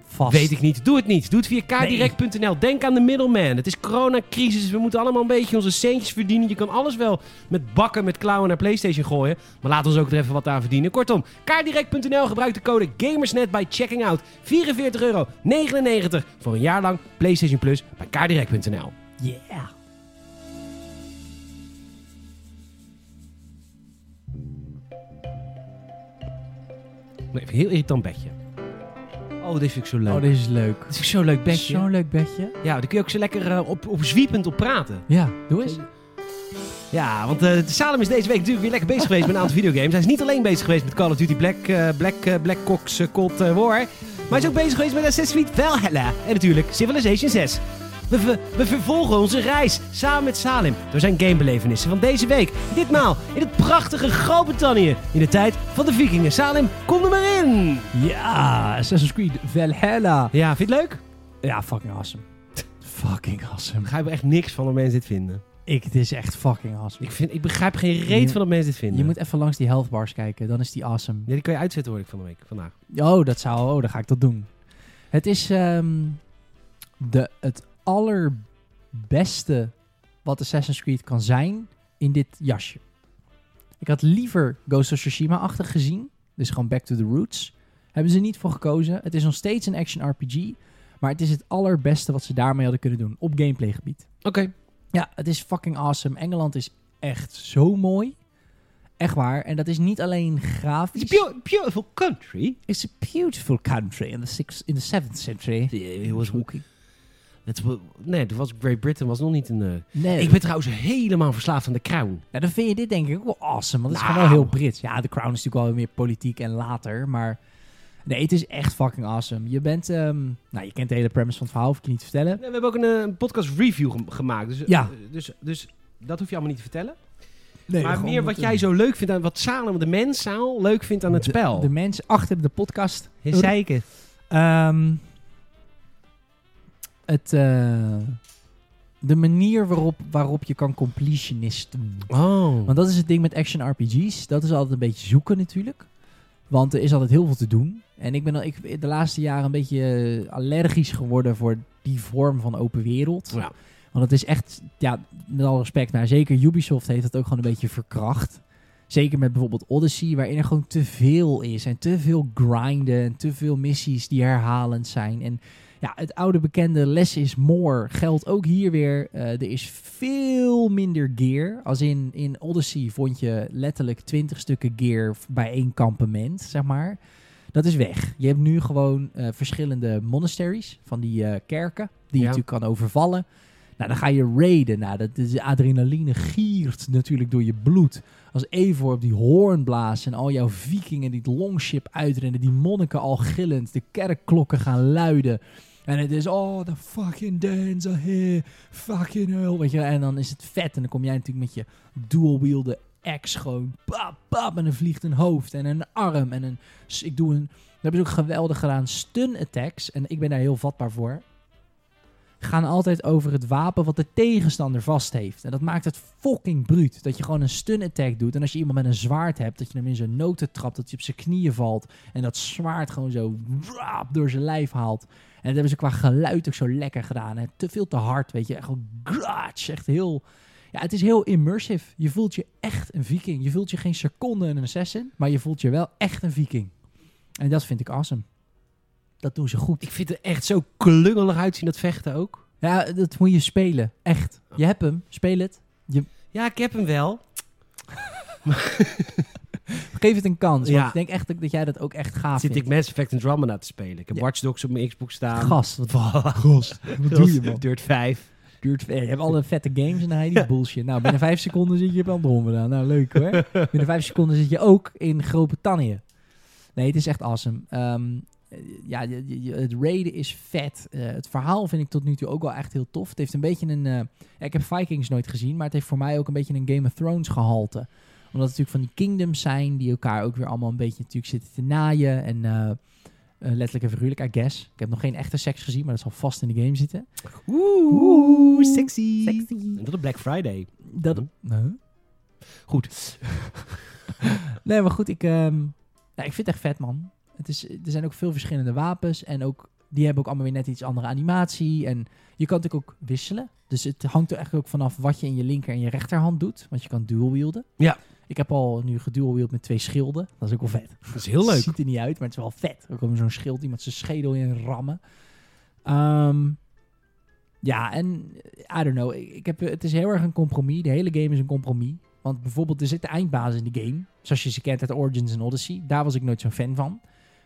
[SPEAKER 2] Vast.
[SPEAKER 1] Weet ik niet. Doe het niet. Doe het via kdirect.nl. Denk aan de middleman. Het is coronacrisis. We moeten allemaal een beetje onze centjes verdienen. Je kan alles wel met bakken, met klauwen naar PlayStation gooien. Maar laat ons ook er even wat aan verdienen. Kortom, kaardirect.nl gebruik de code GAMERSNET bij checking out. 44,99 euro voor een jaar lang PlayStation Plus bij kaardirect.nl.
[SPEAKER 2] Yeah.
[SPEAKER 1] Even een heel irritant bedje. Oh, dit vind ik zo leuk.
[SPEAKER 2] Oh,
[SPEAKER 1] dit...
[SPEAKER 2] dit is leuk.
[SPEAKER 1] vind ik zo'n leuk bedje.
[SPEAKER 2] Zo'n leuk bedje.
[SPEAKER 1] Ja, daar kun je ook zo lekker eh, op, op zwiepend op praten.
[SPEAKER 2] Ja, doe eens.
[SPEAKER 1] Ja, want eh, Salem is deze week natuurlijk weer lekker bezig geweest met een aantal videogames. Hij is niet alleen bezig geweest met Call of Duty Black, eh, Black, eh, Black Ops eh, Cold eh, War. Maar hij is ook bezig geweest met Assassin's Creed Valhalla. En natuurlijk Civilization 6. We, ver- we vervolgen onze reis samen met Salim door zijn gamebelevenissen van deze week. Ditmaal in het prachtige Groot-Brittannië in de tijd van de vikingen. Salim, kom er maar in!
[SPEAKER 2] Ja, Assassin's Creed Valhalla.
[SPEAKER 1] Ja, vind je het leuk?
[SPEAKER 2] Ja, fucking awesome. fucking awesome.
[SPEAKER 1] Ik begrijp er echt niks van dat mensen dit vinden.
[SPEAKER 2] Ik, het is echt fucking awesome.
[SPEAKER 1] Ik, vind, ik begrijp geen reet
[SPEAKER 2] Je-
[SPEAKER 1] van dat mensen dit vinden.
[SPEAKER 2] Je moet even langs die health bars kijken, dan is die awesome.
[SPEAKER 1] Ja, die kun je uitzetten hoor ik van de week, vandaag.
[SPEAKER 2] Oh, dat zou. Oh, dan ga ik dat doen. Het is ehm, de, het allerbeste wat Assassin's Creed kan zijn in dit jasje. Ik had liever Ghost of Tsushima-achtig gezien. Dus gewoon back to the roots. Hebben ze niet voor gekozen. Het is nog steeds een action RPG. Maar het is het allerbeste wat ze daarmee hadden kunnen doen op gameplay gebied.
[SPEAKER 1] Oké.
[SPEAKER 2] Ja, het is fucking awesome. Engeland is echt zo mooi. Echt waar. En dat is niet alleen grafisch.
[SPEAKER 1] It's a beau- beautiful country.
[SPEAKER 2] It's a beautiful country in the sixth, in the seventh century.
[SPEAKER 1] it eh, was- Het wa- nee, dat was Great Britain was nog niet een... eh,
[SPEAKER 2] Nee,
[SPEAKER 1] Ik ben trouwens helemaal verslaafd aan de crown.
[SPEAKER 2] nou, dan vind je dit denk ik ook wel awesome, want het is
[SPEAKER 1] Nou.
[SPEAKER 2] gewoon wel heel Brits. Ja, The Crown is natuurlijk wel meer politiek en later, maar Nee, het is echt fucking awesome. Je bent, ehm, nou, je kent de hele premise van het verhaal, hoef ik je niet te vertellen.
[SPEAKER 1] We hebben ook een, eh, een podcast review gem- gemaakt. Dus,
[SPEAKER 2] Ja.
[SPEAKER 1] dus, dus dat hoef je allemaal niet te vertellen.
[SPEAKER 2] Nee,
[SPEAKER 1] maar meer wat jij zo leuk vindt aan wat Salem, de menszaal, leuk vindt aan het spel.
[SPEAKER 2] De, mensen achter de podcast.
[SPEAKER 1] Zeker.
[SPEAKER 2] Ehm, het, eh, de manier waarop, waarop je kan completionisten.
[SPEAKER 1] Oh.
[SPEAKER 2] Want dat is het ding met action RPG's. Dat is altijd een beetje zoeken natuurlijk. Want er is altijd heel veel te doen. En ik ben al, ik, de laatste jaren een beetje eh, allergisch geworden voor die vorm van open wereld.
[SPEAKER 1] Ja.
[SPEAKER 2] Want het is echt, ja, met alle respect naar, zeker Ubisoft heeft dat ook gewoon een beetje verkracht. Zeker met bijvoorbeeld Odyssey, waarin er gewoon te veel is. En te veel grinden en te veel missies die herhalend zijn. En ja, het oude bekende less is more geldt ook hier weer. Eh, er is veel minder gear. Als in, in Odyssey vond je letterlijk 20 stukken gear bij één kampement, zeg maar. Dat is weg. Je hebt nu gewoon eh, verschillende monasteries van die eh, kerken, die
[SPEAKER 1] Ja.
[SPEAKER 2] je natuurlijk kan overvallen. Nou, dan ga je raiden. Nou, dat is, adrenaline giert natuurlijk door je bloed. Als Evor op die hoorn blaast en al jouw vikingen die het longship uitrennen, die monniken al gillend, de kerkklokken gaan luiden. En het is, oh, the fucking dance are here, fucking hell. Weet je, en dan is het vet. En dan kom jij natuurlijk met je dual-wielde axe gewoon. Pap, pap, en dan vliegt een hoofd en een arm en een... s- Ik doe een... Dat hebben ze ook geweldig gedaan. Stun attacks, en ik ben daar heel vatbaar voor, gaan altijd over het wapen wat de tegenstander vast heeft. En dat maakt het fucking bruut. Dat je gewoon een stun attack doet. En als je iemand met een zwaard hebt, dat je hem in zijn noten trapt, dat hij op zijn knieën valt. En dat zwaard gewoon zo wraap door zijn lijf haalt. En dat hebben ze qua geluid ook zo lekker gedaan. Hè. Te veel te hard, weet je. Echt gewoon grats, echt heel... Ja, het is heel immersive. Je voelt je echt een viking. Je voelt je geen seconde een assassin, maar je voelt je wel echt een viking. En dat vind ik awesome. Dat doen ze goed.
[SPEAKER 1] Ik vind het echt zo klungelig uitzien, dat vechten ook.
[SPEAKER 2] Ja, dat moet je spelen. Echt. Je hebt hem. Speel het.
[SPEAKER 1] Ja, ik heb hem wel.
[SPEAKER 2] Geef het een kans.
[SPEAKER 1] Ja.
[SPEAKER 2] Want ik denk echt dat- dat jij dat ook echt gaaf
[SPEAKER 1] Zit ik
[SPEAKER 2] vindt.
[SPEAKER 1] Mass Effect Andromeda te spelen. Ik heb
[SPEAKER 2] Ja.
[SPEAKER 1] Watch Dogs op mijn Xbox staan.
[SPEAKER 2] Gast. Wat, wat doe je, man?
[SPEAKER 1] Dirt 5.
[SPEAKER 2] Duurt, je hebt alle vette games en dan hij die bullshit. Nou, binnen vijf seconden zit je op Andromeda. Nou, leuk hoor. Binnen vijf seconden zit je ook in Groot-Brittannië. Nee, het is echt awesome. Ehm, eh, ja, je- je- je- het raiden is vet. Eh, het verhaal vind ik tot nu toe ook wel echt heel tof. Het heeft een beetje een... eh, ja, ik heb Vikings nooit gezien, maar het heeft voor mij ook een beetje een Game of Thrones gehalte. Omdat het natuurlijk van die kingdoms zijn die elkaar ook weer allemaal een beetje natuurlijk zitten te naaien. En eh, eh, letterlijk en figuurlijk, I guess. Ik heb nog geen echte seks gezien, maar dat zal vast in de game zitten.
[SPEAKER 1] Oeh, sexy.
[SPEAKER 2] Sexy.
[SPEAKER 1] En dat op Black Friday.
[SPEAKER 2] Dat... Huh?
[SPEAKER 1] Goed.
[SPEAKER 2] Nee, maar goed, ik, ehm, ja, ik vind het echt vet, man. Het is, er zijn ook veel verschillende wapens. En ook, die hebben ook allemaal weer net iets andere animatie. En je kan natuurlijk ook wisselen. Dus het hangt er eigenlijk ook vanaf wat je in je linker en je rechterhand doet. Want je kan dual-wielden.
[SPEAKER 1] Ja.
[SPEAKER 2] Ik heb al nu gedual-wield met twee schilden. Dat is ook wel vet.
[SPEAKER 1] Dat is heel leuk.
[SPEAKER 2] Ziet er niet uit, maar het is wel vet. Er komt zo'n schild iemand zijn schedel in rammen. Ehm, ja, en eh, I don't know. Ik ik heb, het is heel erg een compromis. De hele game is een compromis. Want bijvoorbeeld, er zit de eindbaas in de game. Zoals je ze kent uit Origins en Odyssey. Daar was ik nooit zo'n fan van.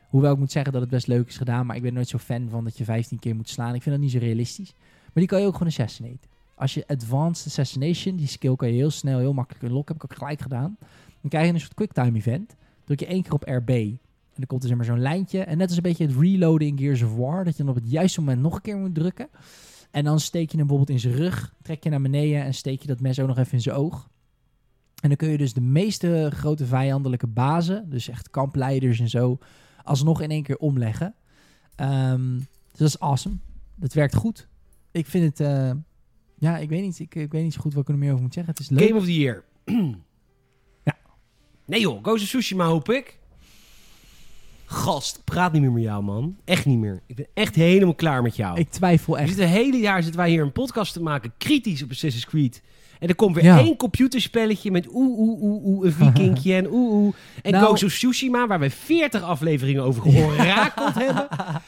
[SPEAKER 2] Hoewel ik moet zeggen dat het best leuk is gedaan. Maar ik ben nooit zo'n fan van dat je 15 keer moet slaan. Ik vind dat niet zo realistisch. Maar die kan je ook gewoon assassinaten. Als je Advanced Assassination, die skill kan je heel snel, heel makkelijk unlocken. Heb ik ook gelijk gedaan. Dan krijg je een soort quicktime event. Druk je één keer op RB. En dan komt er zeg maar zo'n lijntje. En net als een beetje het reloaden in Gears of War. Dat je dan op het juiste moment nog een keer moet drukken. En dan steek je hem bijvoorbeeld in zijn rug. Trek je naar beneden en steek je dat mes ook nog even in zijn oog. En dan kun je dus de meeste grote vijandelijke bazen. Dus echt kampleiders en zo. Alsnog in één keer omleggen. Ehm, dus dat is awesome. Dat werkt goed. Ik vind het... eh, ja, ik weet, niet, ik, ik weet niet zo goed wat ik er meer over moet zeggen. Het is leuk.
[SPEAKER 1] Game of the Year.
[SPEAKER 2] [clears throat] Ja.
[SPEAKER 1] Nee joh, Ghost of Tsushima hoop ik. Gast, ik praat niet meer met jou man. Echt niet meer. Ik ben echt helemaal klaar met jou.
[SPEAKER 2] Ik twijfel
[SPEAKER 1] We
[SPEAKER 2] echt.
[SPEAKER 1] zitten het hele jaar zitten wij hier een podcast te maken, kritisch op Assassin's Creed. En er komt weer
[SPEAKER 2] Ja.
[SPEAKER 1] één computerspelletje met oeh, oeh, oeh, oeh, een vikingje en oeh, oeh. En
[SPEAKER 2] Nou-
[SPEAKER 1] Ghost of Tsushima, waar wij 40 afleveringen over
[SPEAKER 2] [laughs]
[SPEAKER 1] gehorakeld hebben.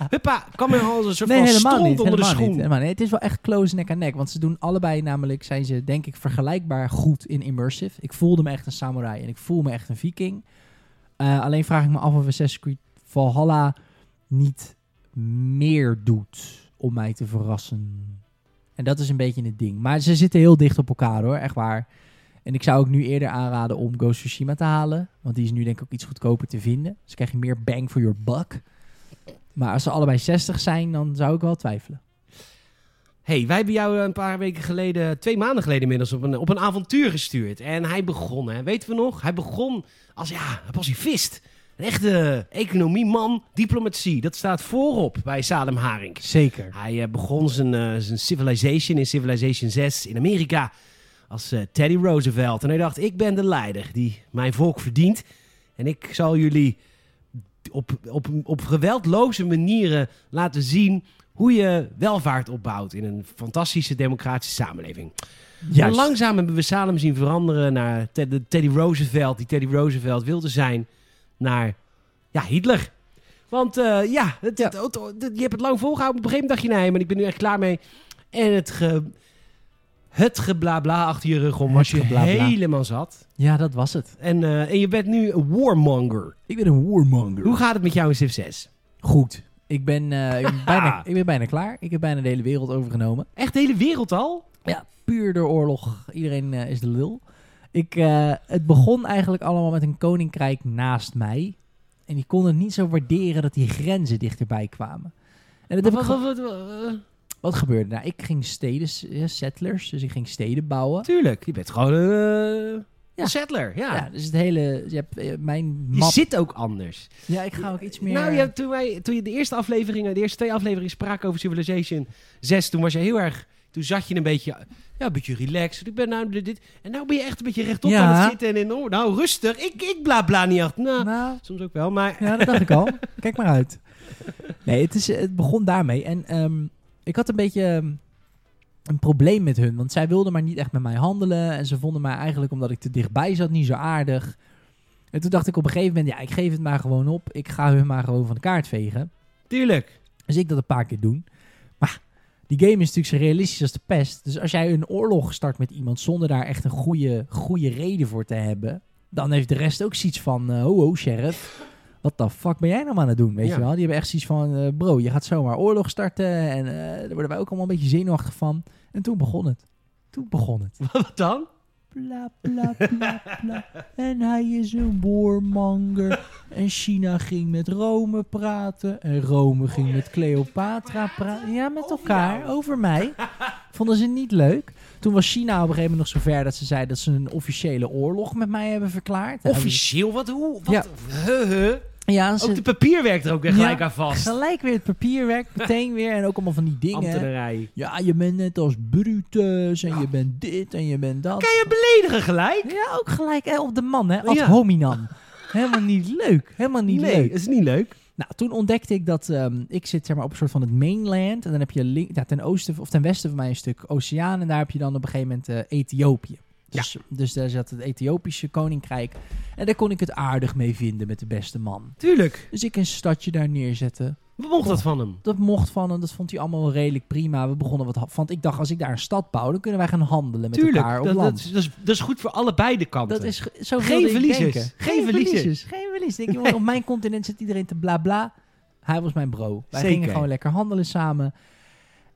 [SPEAKER 1] Huppa, kwam er al een soort
[SPEAKER 2] Nee,
[SPEAKER 1] van
[SPEAKER 2] helemaal
[SPEAKER 1] stront
[SPEAKER 2] niet.
[SPEAKER 1] onder de
[SPEAKER 2] Helemaal
[SPEAKER 1] schoen.
[SPEAKER 2] niet. Helemaal niet. Het is wel echt close nek aan nek. Want ze doen allebei namelijk, zijn ze denk ik vergelijkbaar goed in immersive. Ik voelde me echt een samurai en ik voel me echt een viking. Eh, alleen vraag ik me af of Assassin's Creed Valhalla niet meer doet om mij te verrassen. En dat is een beetje het ding. Maar ze zitten heel dicht op elkaar hoor, echt waar. En ik zou ook nu eerder aanraden om Ghost of Tsushima te halen. Want die is nu denk ik ook iets goedkoper te vinden. Dus krijg je meer bang for your buck. Maar als ze allebei 60 zijn, dan zou ik wel twijfelen.
[SPEAKER 1] hey, wij hebben jou een paar weken geleden, twee maanden geleden inmiddels, op een, op een avontuur gestuurd. En hij begon, hè, weten we nog? Hij begon als, ja, een pacifist. Een echte economieman, diplomatie. Dat staat voorop bij Salem Haring.
[SPEAKER 2] Zeker.
[SPEAKER 1] Hij eh, begon zijn, eh, zijn Civilization in Civilization 6 in Amerika als eh, Teddy Roosevelt. En hij dacht, ik ben de leider die mijn volk verdient. En ik zal jullie op, op, op geweldloze manieren laten zien hoe je welvaart opbouwt in een fantastische democratische samenleving. Maar
[SPEAKER 2] Lang...
[SPEAKER 1] langzaam hebben we Salem zien veranderen naar Ted- de Teddy Roosevelt, die Teddy Roosevelt wilde zijn, naar ja, Hitler. Want eh, ja, het,
[SPEAKER 2] Ja.
[SPEAKER 1] het- het- het- je hebt het lang volgehouden. Op een gegeven moment dacht je, nee, maar ik ben nu echt klaar mee. En het, ge, het geblabla achter je rug om
[SPEAKER 2] Het
[SPEAKER 1] was je
[SPEAKER 2] geblabla.
[SPEAKER 1] helemaal zat.
[SPEAKER 2] Ja, dat was het.
[SPEAKER 1] En, eh, en je bent nu een warmonger.
[SPEAKER 2] Ik ben een warmonger.
[SPEAKER 1] Hoe gaat het met jou in Civ 6?
[SPEAKER 2] Goed. Ik ben, eh, ik, ben bijna, ik ben bijna klaar. Ik heb bijna de hele wereld overgenomen.
[SPEAKER 1] Echt de hele wereld al?
[SPEAKER 2] Ja, puur door oorlog. Iedereen eh, is de lul. Ik, eh, het begon eigenlijk allemaal met een koninkrijk naast mij. En die kon het niet zo waarderen dat die grenzen dichterbij kwamen. En dat heb ik
[SPEAKER 1] Wat-
[SPEAKER 2] ge-
[SPEAKER 1] wat- wat- eh, wat-
[SPEAKER 2] Wat gebeurde nou? Ik ging steden, s- eh, settlers, dus ik ging steden bouwen.
[SPEAKER 1] Tuurlijk, je bent gewoon eh, een
[SPEAKER 2] Ja.
[SPEAKER 1] settler.
[SPEAKER 2] Ja,
[SPEAKER 1] Ja.
[SPEAKER 2] dus het hele, je hebt eh, mijn
[SPEAKER 1] Je
[SPEAKER 2] map.
[SPEAKER 1] zit ook anders.
[SPEAKER 2] Ja, ik ga ook iets meer...
[SPEAKER 1] Nou ja, toen, wij, toen je de eerste afleveringen, de eerste twee afleveringen spraken over Civilization 6, toen was je heel erg. Toen zat je een beetje, ja, een beetje relaxed. Ik ben nou dit, dit- En nou ben je echt een beetje rechtop
[SPEAKER 2] Ja.
[SPEAKER 1] aan het zitten. En in, oh, nou, rustig. Ik, ik bla bla niet achter. Nou,
[SPEAKER 2] Nou,
[SPEAKER 1] soms ook wel, maar.
[SPEAKER 2] ja, dat dacht ik al. Kijk maar uit. Nee, het, is, het begon daarmee. En ehm, ik had een beetje ehm, een probleem met hun. Want zij wilden maar niet echt met mij handelen. En ze vonden mij eigenlijk, omdat ik te dichtbij zat, niet zo aardig. En toen dacht ik op een gegeven moment, ja, ik geef het maar gewoon op. Ik ga hun maar gewoon van de kaart vegen.
[SPEAKER 1] Tuurlijk.
[SPEAKER 2] Dus ik dat een paar keer doen. Maar die game is natuurlijk zo realistisch als de pest. Dus als jij een oorlog start met iemand zonder daar echt een goede, goede reden voor te hebben, dan heeft de rest ook zoiets van: eh, ho, ho, sheriff. Wat de fuck ben jij nou aan het doen? Weet
[SPEAKER 1] Ja.
[SPEAKER 2] je wel? Die hebben echt zoiets van: eh, bro, je gaat zomaar oorlog starten. En eh, daar worden wij ook allemaal een beetje zenuwachtig van. En toen begon het. Toen begon het.
[SPEAKER 1] Wat dan?
[SPEAKER 2] Bla bla bla bla. En hij is een warmonger. En China ging met Rome praten. En Rome ging met Cleopatra praten. Ja, met elkaar. Over mij. Vonden ze niet leuk. Toen was China op een gegeven moment nog zover dat ze zei dat ze een officiële oorlog met mij hebben verklaard.
[SPEAKER 1] Officieel? Wat? Hoe? Wat? Huh, huh.
[SPEAKER 2] Ja,
[SPEAKER 1] Ook de
[SPEAKER 2] ze
[SPEAKER 1] papierwerk er ook weer
[SPEAKER 2] Ja.
[SPEAKER 1] gelijk aan vast.
[SPEAKER 2] gelijk weer het papierwerk. Meteen weer. En ook allemaal van die dingen.
[SPEAKER 1] Ambtenarij.
[SPEAKER 2] Ja, je bent net als Brutus. En je bent dit en je bent dat.
[SPEAKER 1] Kan je beledigen gelijk?
[SPEAKER 2] Ja, ook gelijk hè, op de man, hè? Ad
[SPEAKER 1] Ja.
[SPEAKER 2] hominam. Helemaal niet leuk. Helemaal niet
[SPEAKER 1] nee,
[SPEAKER 2] leuk.
[SPEAKER 1] is niet leuk.
[SPEAKER 2] Nou, toen ontdekte ik dat ehm, ik zit zeg maar, op een soort van het mainland. En dan heb je link, ja, ten oosten of ten westen van mij een stuk oceaan. En daar heb je dan op een gegeven moment eh, Ethiopië. Dus, dus daar zat het Ethiopische koninkrijk. En daar kon ik het aardig mee vinden met de beste man.
[SPEAKER 1] Tuurlijk.
[SPEAKER 2] Dus ik een stadje daar neerzetten.
[SPEAKER 1] Wat mocht dat van hem?
[SPEAKER 2] Dat mocht van hem. Dat vond hij allemaal wel redelijk prima. We begonnen wat... ha- Want ik dacht, als ik daar een stad bouw, dan kunnen wij gaan handelen met
[SPEAKER 1] Tuurlijk.
[SPEAKER 2] elkaar op
[SPEAKER 1] Dat, dat,
[SPEAKER 2] land.
[SPEAKER 1] is, dat, is, dat is goed voor allebei de kanten.
[SPEAKER 2] Dat is ge- zo
[SPEAKER 1] Geen
[SPEAKER 2] wilde ik
[SPEAKER 1] verliezers.
[SPEAKER 2] denken.
[SPEAKER 1] Geen verliezers.
[SPEAKER 2] Geen verliezers. Ik Denk, jongen, Op mijn continent zit iedereen te bla bla. Hij was mijn bro. Wij
[SPEAKER 1] Zeker.
[SPEAKER 2] gingen gewoon lekker handelen samen.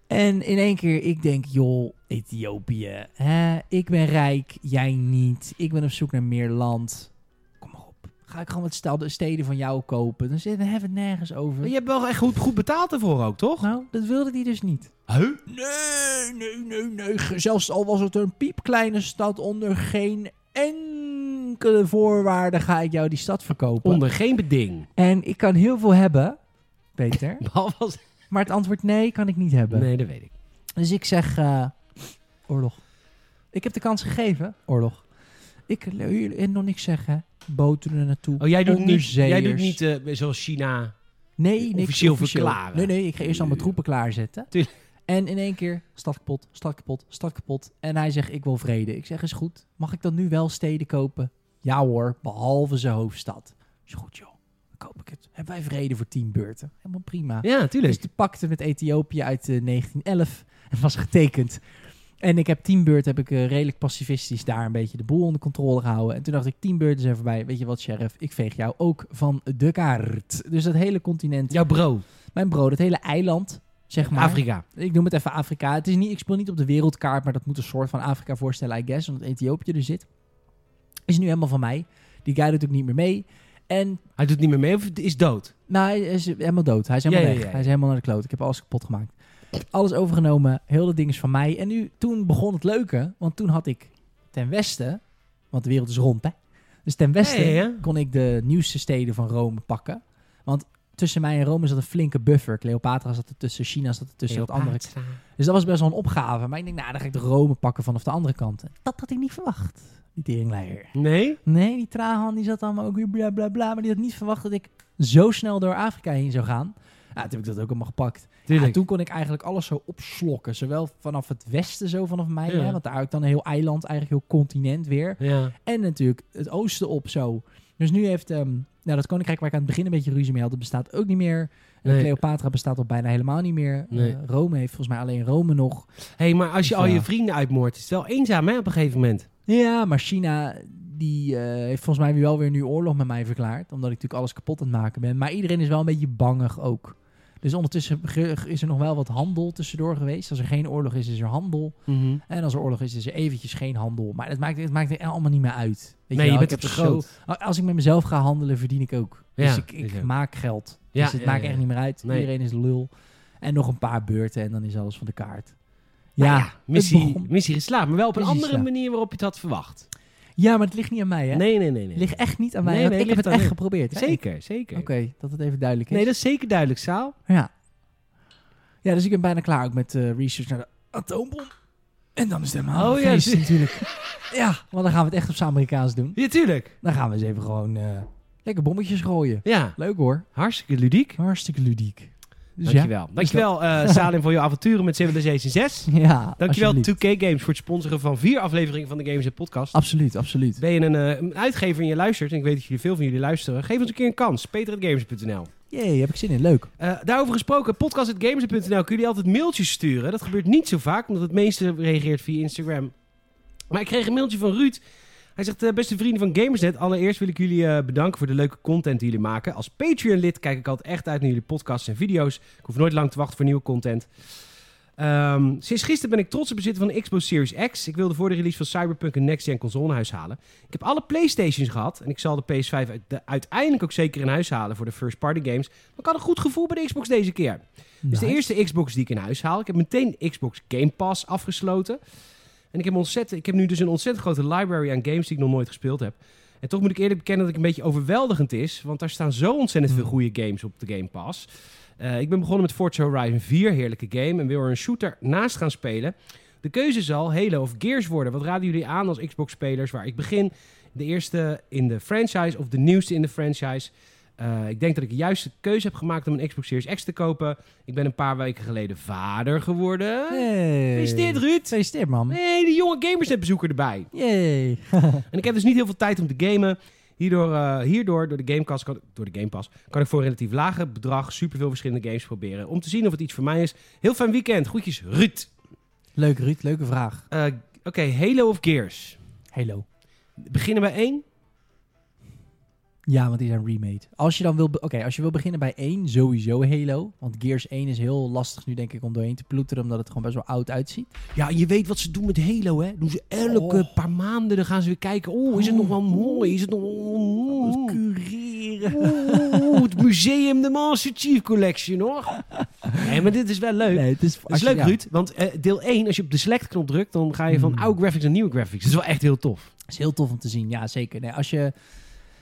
[SPEAKER 2] En in één keer, ik denk, joh, Ethiopië. Hè? Ik ben rijk, jij niet. Ik ben op zoek naar meer land. Kom maar op. Ga ik gewoon wat stel- steden van jou kopen. Dan zit- dan hebben we het nergens
[SPEAKER 1] Maar
[SPEAKER 2] over.
[SPEAKER 1] Hm? je hebt wel echt goed, goed betaald ervoor ook, toch?
[SPEAKER 2] Nou, dat wilde hij dus niet.
[SPEAKER 1] Huh?
[SPEAKER 2] Nee, nee, nee, nee. Ge- Zelfs al was het een piepkleine stad, onder geen enkele voorwaarde ga ik jou die stad verkopen.
[SPEAKER 1] Onder geen beding.
[SPEAKER 2] En ik kan heel veel hebben, Peter.
[SPEAKER 1] [laughs] Behalve als...
[SPEAKER 2] maar het antwoord nee kan ik niet hebben.
[SPEAKER 1] Nee, dat weet ik.
[SPEAKER 2] Dus ik zeg, eh, oorlog. Ik heb de kans gegeven, oorlog. Ik eh, en nog niks zeggen. Boten er naartoe.
[SPEAKER 1] Oh, jij doet niet, jij doet
[SPEAKER 2] Onderzeeërs.
[SPEAKER 1] niet eh, zoals China.
[SPEAKER 2] Nee, niks
[SPEAKER 1] officieel verklaren.
[SPEAKER 2] Nee, nee, ik ga eerst allemaal troepen klaarzetten.
[SPEAKER 1] Tuurlijk.
[SPEAKER 2] En in één keer, stad kapot, stad kapot, stad kapot. En hij zegt, ik wil vrede. Ik zeg, is goed. Mag ik dan nu wel steden kopen? Ja hoor, behalve zijn hoofdstad. Is goed joh, dan koop ik het. Hebben wij vrede voor tien beurten? Helemaal prima.
[SPEAKER 1] Ja,
[SPEAKER 2] Dus
[SPEAKER 1] tuurlijk.
[SPEAKER 2] de pakte met Ethiopië uit eh, 1911 en was getekend. En ik heb tien beurt heb ik eh, redelijk pacifistisch daar een beetje de boel onder controle gehouden. En toen dacht ik, tien beurten zijn voorbij. Weet je wat, sheriff? Ik veeg jou ook van de kaart. Dus dat hele continent
[SPEAKER 1] Jouw bro,
[SPEAKER 2] mijn brood, het hele eiland, zeg maar.
[SPEAKER 1] Afrika.
[SPEAKER 2] Ik noem het even Afrika. Het is niet, ik speel niet op de wereldkaart, maar dat moet een soort van Afrika voorstellen, I guess, omdat Ethiopië er zit. Is nu helemaal van mij. Die guy doet ook niet meer mee. En
[SPEAKER 1] Hij doet niet meer mee of is dood?
[SPEAKER 2] nou, hij is helemaal dood. Hij is helemaal
[SPEAKER 1] Ja, ja,
[SPEAKER 2] weg.
[SPEAKER 1] ja, ja.
[SPEAKER 2] Hij is helemaal naar de kloot. Ik heb alles kapot gemaakt. Alles overgenomen. Heel dat ding is van mij. En nu, toen begon het leuke. Want toen had ik ten westen... Want de wereld is rond, hè? Dus ten westen
[SPEAKER 1] Ja, ja, ja.
[SPEAKER 2] kon ik de nieuwste steden van Rome pakken. Want tussen mij en Rome zat een flinke buffer. Cleopatra zat er tussen, China zat er tussen, dat andere Dus dat was best wel een opgave. Maar ik denk, nou, dan ga ik de Rome pakken vanaf de andere kant. Dat had ik niet verwacht, die teringleier.
[SPEAKER 1] Nee?
[SPEAKER 2] Nee, die Trahan die zat allemaal ook weer bla bla bla. Maar die had niet verwacht dat ik zo snel door Afrika heen zou gaan. Ja, toen heb ik dat ook allemaal gepakt. Ja,
[SPEAKER 1] Tuurlijk.
[SPEAKER 2] toen kon ik eigenlijk alles zo opslokken. Zowel vanaf het westen, zo vanaf mij.
[SPEAKER 1] Ja.
[SPEAKER 2] Hè, want daar had ik dan een heel eiland, eigenlijk heel continent weer.
[SPEAKER 1] Ja.
[SPEAKER 2] En natuurlijk het oosten op zo. Dus nu heeft ehm, nou, dat koninkrijk waar ik aan het begin een beetje ruzie mee had, dat bestaat ook niet meer. En
[SPEAKER 1] Nee.
[SPEAKER 2] Cleopatra bestaat al bijna helemaal niet meer.
[SPEAKER 1] Nee.
[SPEAKER 2] Eh, Rome heeft volgens mij alleen Rome nog.
[SPEAKER 1] hey, maar als je
[SPEAKER 2] Dus,
[SPEAKER 1] al je
[SPEAKER 2] ja.
[SPEAKER 1] vrienden uitmoordt, is het wel eenzaam hè, op een gegeven moment.
[SPEAKER 2] Ja, maar China die eh, heeft volgens mij wel weer nu oorlog met mij verklaard. Omdat ik natuurlijk alles kapot aan het maken ben. Maar iedereen is wel een beetje bangig ook. Dus ondertussen ge- is er nog wel wat handel tussendoor geweest. Als er geen oorlog is, is er handel. En als er oorlog is, is er eventjes geen handel. Maar het maakt, het maakt er allemaal niet meer uit. Weet
[SPEAKER 1] Nee, je
[SPEAKER 2] wel,
[SPEAKER 1] bent
[SPEAKER 2] ik
[SPEAKER 1] het te
[SPEAKER 2] heb zo-
[SPEAKER 1] groot.
[SPEAKER 2] Als ik met mezelf ga handelen, verdien ik ook. dus
[SPEAKER 1] Ja,
[SPEAKER 2] ik, ik
[SPEAKER 1] is ook.
[SPEAKER 2] maak geld.
[SPEAKER 1] Ja,
[SPEAKER 2] dus het
[SPEAKER 1] ja,
[SPEAKER 2] maakt
[SPEAKER 1] ja.
[SPEAKER 2] echt niet meer uit.
[SPEAKER 1] Nee.
[SPEAKER 2] Iedereen is lul. En nog een paar beurten en dan is alles van de kaart.
[SPEAKER 1] Nou
[SPEAKER 2] Ja,
[SPEAKER 1] ja, missie,
[SPEAKER 2] begon-
[SPEAKER 1] missie geslaagd. Maar wel op een
[SPEAKER 2] Missie
[SPEAKER 1] andere
[SPEAKER 2] geslaagd.
[SPEAKER 1] manier waarop je het had verwacht.
[SPEAKER 2] ja, maar het ligt niet aan mij, hè?
[SPEAKER 1] Nee, nee, nee. nee.
[SPEAKER 2] Het ligt echt niet aan mij.
[SPEAKER 1] Nee,
[SPEAKER 2] want
[SPEAKER 1] nee,
[SPEAKER 2] ik heb
[SPEAKER 1] ligt
[SPEAKER 2] het
[SPEAKER 1] aan hem.
[SPEAKER 2] echt geprobeerd. hè?
[SPEAKER 1] Zeker, zeker.
[SPEAKER 2] Oké, dat het even duidelijk is.
[SPEAKER 1] Nee, dat is zeker duidelijk, Saal.
[SPEAKER 2] ja. ja, dus ik ben bijna klaar ook met eh, research naar de atoombom. En dan is het helemaal
[SPEAKER 1] Oh
[SPEAKER 2] een
[SPEAKER 1] ja,
[SPEAKER 2] feest
[SPEAKER 1] zie- [laughs]
[SPEAKER 2] natuurlijk. ja, want dan gaan we het echt op z'n Amerikaans doen.
[SPEAKER 1] Ja, tuurlijk.
[SPEAKER 2] Dan gaan we eens even gewoon eh, lekker bommetjes gooien.
[SPEAKER 1] Ja,
[SPEAKER 2] Leuk hoor.
[SPEAKER 1] hartstikke ludiek.
[SPEAKER 2] Hartstikke ludiek. Dus
[SPEAKER 1] Dankjewel. Dankjewel, [laughs] eh Salim, voor je avonturen met Civilization 6.
[SPEAKER 2] ja. Ja,
[SPEAKER 1] Dankjewel
[SPEAKER 2] alsjeblieft.
[SPEAKER 1] 2K Games voor het sponsoren van vier afleveringen van de Games Podcast.
[SPEAKER 2] Absoluut, absoluut.
[SPEAKER 1] Ben je een, eh, een uitgever en je luistert, en ik weet dat jullie veel van jullie luisteren, geef ons een keer een kans. Peter.games.nl
[SPEAKER 2] Jee, heb ik zin in. Leuk.
[SPEAKER 1] Eh, daarover gesproken, podcast.gamers.nl kunnen jullie altijd mailtjes sturen. Dat gebeurt niet zo vaak, omdat het meeste reageert via Instagram. Maar ik kreeg een mailtje van Ruud. Hij zegt, eh, beste vrienden van Gamersnet, allereerst wil ik jullie eh, bedanken voor de leuke content die jullie maken. Als Patreon-lid kijk ik altijd echt uit naar jullie podcasts en video's. Ik hoef nooit lang te wachten voor nieuwe content. Ehm, sinds gisteren ben ik trots op bezit van de Xbox Series X. Ik wilde voor de release van Cyberpunk een next-gen console naar huis halen. Ik heb alle Playstations gehad en ik zal de PS5 uit- de- uiteindelijk ook zeker in huis halen voor de first-party games. Maar ik had een goed gevoel bij de Xbox deze keer. Dus de
[SPEAKER 2] Nice.
[SPEAKER 1] eerste Xbox die ik in huis haal. Ik heb meteen Xbox Game Pass afgesloten. En ik heb, ontzettend, ik heb nu dus een ontzettend grote library aan games die ik nog nooit gespeeld heb. En toch moet ik eerlijk bekennen dat ik een beetje overweldigend is. Want daar staan zo ontzettend veel
[SPEAKER 2] Mm.
[SPEAKER 1] goede games op de Game Pass. Eh, ik ben begonnen met Forza Horizon 4, heerlijke game. En wil er een shooter naast gaan spelen. De keuze zal Halo of Gears worden. Wat raden jullie aan als Xbox-spelers waar ik begin? De eerste in de franchise of de nieuwste in de franchise? Eh, ik denk dat ik de juiste keuze heb gemaakt om een Xbox Series X te kopen. Ik ben een paar weken geleden vader geworden.
[SPEAKER 2] Hey.
[SPEAKER 1] Is dit Ruud?
[SPEAKER 2] Gefeliciteerd, man.
[SPEAKER 1] Nee, de jonge gamers net bezoeker erbij.
[SPEAKER 2] Yay.
[SPEAKER 1] En ik heb dus niet heel veel tijd om te gamen. Hierdoor, eh, hierdoor door, de Gamecast kan, door de Game Pass, kan ik voor een relatief lage bedrag superveel verschillende games proberen. Om te zien of het iets voor mij is. Heel fijn weekend. Groetjes, Ruud.
[SPEAKER 2] Leuk, Ruud. Leuke vraag.
[SPEAKER 1] Eh, Oké, Halo of Gears?
[SPEAKER 2] Hello.
[SPEAKER 1] Beginnen bij één?
[SPEAKER 2] Ja, want die zijn remade. Als je dan wil, be- oké, als je wil beginnen bij 1, sowieso Halo. Want Gears 1 is heel lastig nu, denk ik, om doorheen te ploeteren. Omdat het gewoon best wel oud uitziet.
[SPEAKER 1] Ja, je weet wat ze doen met Halo, hè? Doen ze elke
[SPEAKER 2] Oh.
[SPEAKER 1] paar maanden, dan gaan ze weer kijken. Oh, is het nog wel mooi? Is het nog wel
[SPEAKER 2] Het
[SPEAKER 1] mooi?
[SPEAKER 2] cureren.
[SPEAKER 1] Oeh, het museum, de Master Chief Collection, hoor. Nee, maar dit is wel leuk.
[SPEAKER 2] Nee, het is,
[SPEAKER 1] Het is leuk, Ruud, want eh, deel 1, als je op de select-knop drukt, dan ga je van
[SPEAKER 2] Mm.
[SPEAKER 1] oude graphics naar nieuwe graphics. Hmm. Dat is wel echt heel tof.
[SPEAKER 2] Het is heel tof om te zien, ja, zeker. Nee, als je,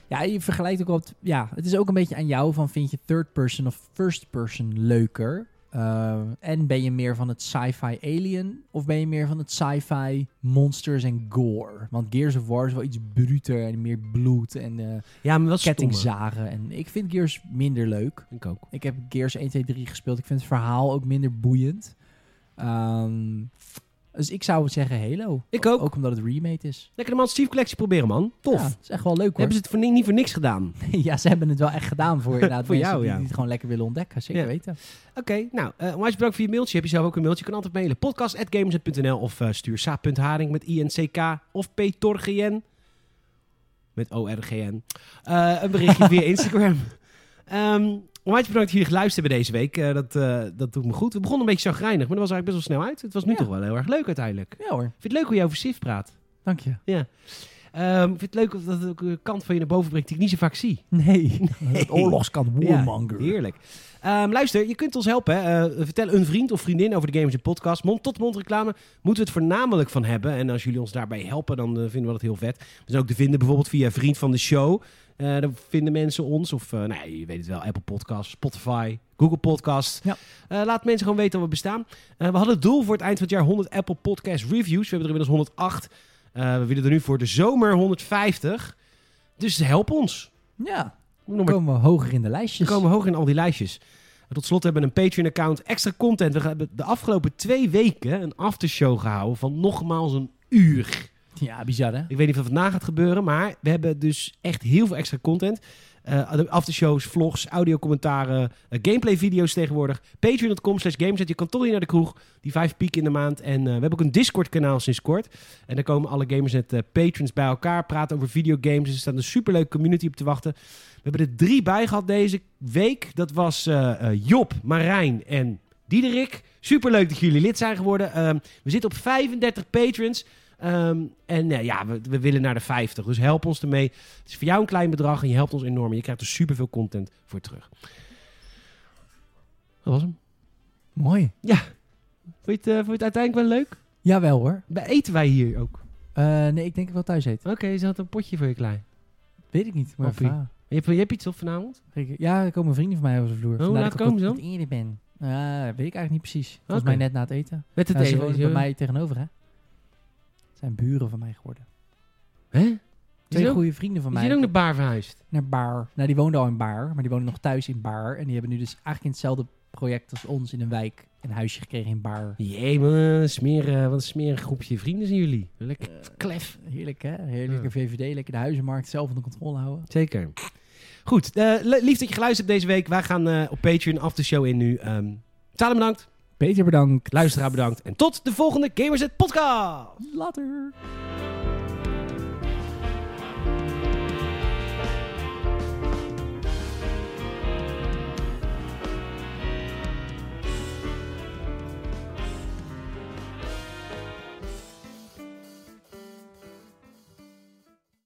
[SPEAKER 2] ja, je vergelijkt ook wat, ja, het is ook een beetje aan jou van vind je third person of first person leuker? Eh, en ben je meer van het sci-fi alien of ben je meer van het sci-fi monsters en gore? Want Gears of War is wel iets bruter en meer bloed en... eh,
[SPEAKER 1] Ja, maar dat is
[SPEAKER 2] kettingzagen. En ik vind Gears minder leuk.
[SPEAKER 1] Ik ook.
[SPEAKER 2] Ik heb Gears 1, 2, 3 gespeeld. Ik vind het verhaal ook minder boeiend. Ehm, dus ik zou zeggen Halo.
[SPEAKER 1] Ik ook.
[SPEAKER 2] Ook omdat het remade is.
[SPEAKER 1] Lekker de Master Chief Collection proberen, man. Tof.
[SPEAKER 2] Ja, is echt wel leuk hoor.
[SPEAKER 1] Hebben ze het voor ni- niet voor niks gedaan.
[SPEAKER 2] [laughs] ja, ze hebben het wel echt gedaan
[SPEAKER 1] [laughs]
[SPEAKER 2] voor, inderdaad,
[SPEAKER 1] Voor
[SPEAKER 2] mensen
[SPEAKER 1] jou,
[SPEAKER 2] die,
[SPEAKER 1] ja.
[SPEAKER 2] die het gewoon lekker willen ontdekken. Zeker
[SPEAKER 1] Ja.
[SPEAKER 2] weten.
[SPEAKER 1] Oké, nou, eh onwijs bedankt voor je mailtje. Heb je zelf ook een mailtje? Je kan altijd mailen. podcast.gamers.nl of eh, stuur saap.haring met INCK of ptorgn met ORGN Eh een berichtje via Instagram. Ehm onwijs bedankt dat jullie geluisterd hebben deze week. Eh, dat, eh, dat doet me goed. We begonnen een beetje chagrijnig, maar dat was eigenlijk best wel snel uit. Het was nu
[SPEAKER 2] Ja.
[SPEAKER 1] toch wel heel erg leuk uiteindelijk.
[SPEAKER 2] Ja hoor,
[SPEAKER 1] [laughs] Vind je het leuk hoe je over Sif praat?
[SPEAKER 2] dank je.
[SPEAKER 1] Eh, Ehm, ik vind het leuk dat het ook een kant van je naar boven brengt die ik niet zo vaak zie.
[SPEAKER 2] [laughs] Nee. Het oorlogskant warmonger.
[SPEAKER 1] Ja, heerlijk. Ehm, luister, je kunt ons helpen. hè. Eh, vertel een vriend of vriendin over de Gamers in Podcast. Mond-tot-mond reclame moeten we het voornamelijk van hebben. En als jullie ons daarbij helpen, dan eh, vinden we dat heel vet. We zijn ook te vinden bijvoorbeeld via Vriend van de Show. Eh dan vinden mensen ons. Of, eh, nou ja, je weet het wel, Apple Podcast, Spotify, Google Podcast.
[SPEAKER 2] Ja.
[SPEAKER 1] Eh, laat mensen gewoon weten dat we bestaan. Eh, we hadden het doel voor het eind van het jaar 100 Apple Podcast Reviews. We hebben er inmiddels 108. Eh, we willen er nu voor de zomer 150. Dus help ons.
[SPEAKER 2] Ja,
[SPEAKER 1] Nog maar
[SPEAKER 2] dan komen we hoger in de lijstjes.
[SPEAKER 1] we komen hoog in al die lijstjes. En tot slot hebben we een Patreon-account, extra content. We hebben de afgelopen twee weken een aftershow gehouden van nogmaals een uur.
[SPEAKER 2] Ja, bizar hè?
[SPEAKER 1] Ik weet niet of het na gaat gebeuren, maar we hebben dus echt heel veel extra content. Eh, de aftershows, vlogs, audiocommentaren, eh, gameplay-video's tegenwoordig. Patreon.com slash gameset. Je kan toch niet naar de kroeg. Die vijf piek in de maand. En eh, we hebben ook een Discord-kanaal sinds kort. En daar komen alle gamers net eh, patrons bij elkaar. Praten over videogames. Dus Er staat een superleuke community op te wachten. We hebben er drie bij gehad deze week. Dat was eh, eh, Job, Marijn en Diederik. Superleuk dat jullie lid zijn geworden. Ehm, we zitten op 35 patrons. Ehm, en eh, ja, we, we willen naar de 50. Dus help ons ermee. Het is voor jou een klein bedrag en je helpt ons enorm. En je krijgt er superveel content voor terug. Dat was hem.
[SPEAKER 2] Mooi.
[SPEAKER 1] Vond je het, eh, vond je het uiteindelijk wel leuk?
[SPEAKER 2] Jawel hoor.
[SPEAKER 1] Bij eten wij hier ook.
[SPEAKER 2] Eh, nee, ik denk ik wel thuis eten.
[SPEAKER 1] Oké, ze had een potje voor je klein.
[SPEAKER 2] Weet ik niet. Maar
[SPEAKER 1] Appie.
[SPEAKER 2] vraag.
[SPEAKER 1] Je hebt, je hebt iets op vanavond?
[SPEAKER 2] Ik- Ja, er komen vrienden van mij over de vloer. Vandaar
[SPEAKER 1] laat
[SPEAKER 2] dat ik
[SPEAKER 1] komen ze
[SPEAKER 2] ook
[SPEAKER 1] dan?
[SPEAKER 2] wat eerder ben. Ja, weet ik eigenlijk niet precies. Volgens
[SPEAKER 1] Oké.
[SPEAKER 2] mij net na het eten.
[SPEAKER 1] Met het
[SPEAKER 2] Ja, ze
[SPEAKER 1] eten.
[SPEAKER 2] wonen bij mij tegenover, hè? Het zijn buren van mij geworden.
[SPEAKER 1] Hè? Is
[SPEAKER 2] Twee
[SPEAKER 1] je ook,
[SPEAKER 2] goede vrienden van
[SPEAKER 1] is
[SPEAKER 2] mij.
[SPEAKER 1] je ook naar Baar verhuisd?
[SPEAKER 2] Naar Baar. Nou, die woonden al in Baar, maar die wonen nog thuis in Baar. En die hebben nu dus eigenlijk in hetzelfde project als ons in een wijk een huisje gekregen in Baar.
[SPEAKER 1] Jee, man, smeer, eh, wat een smerig groepje vrienden zijn jullie. Lekker
[SPEAKER 2] Eh,
[SPEAKER 1] klef.
[SPEAKER 2] Heerlijk, hè? Heerlijke VVD, lekker de huizenmarkt zelf onder controle houden.
[SPEAKER 1] Zeker. Goed, eh, le- lief dat je geluisterd hebt deze week. Wij gaan eh, op Patreon af de show in nu. Ehm Talen bedankt,
[SPEAKER 2] Peter, bedankt.
[SPEAKER 1] luisteraar bedankt. En tot de volgende Gamers Net Podcast!
[SPEAKER 2] Later.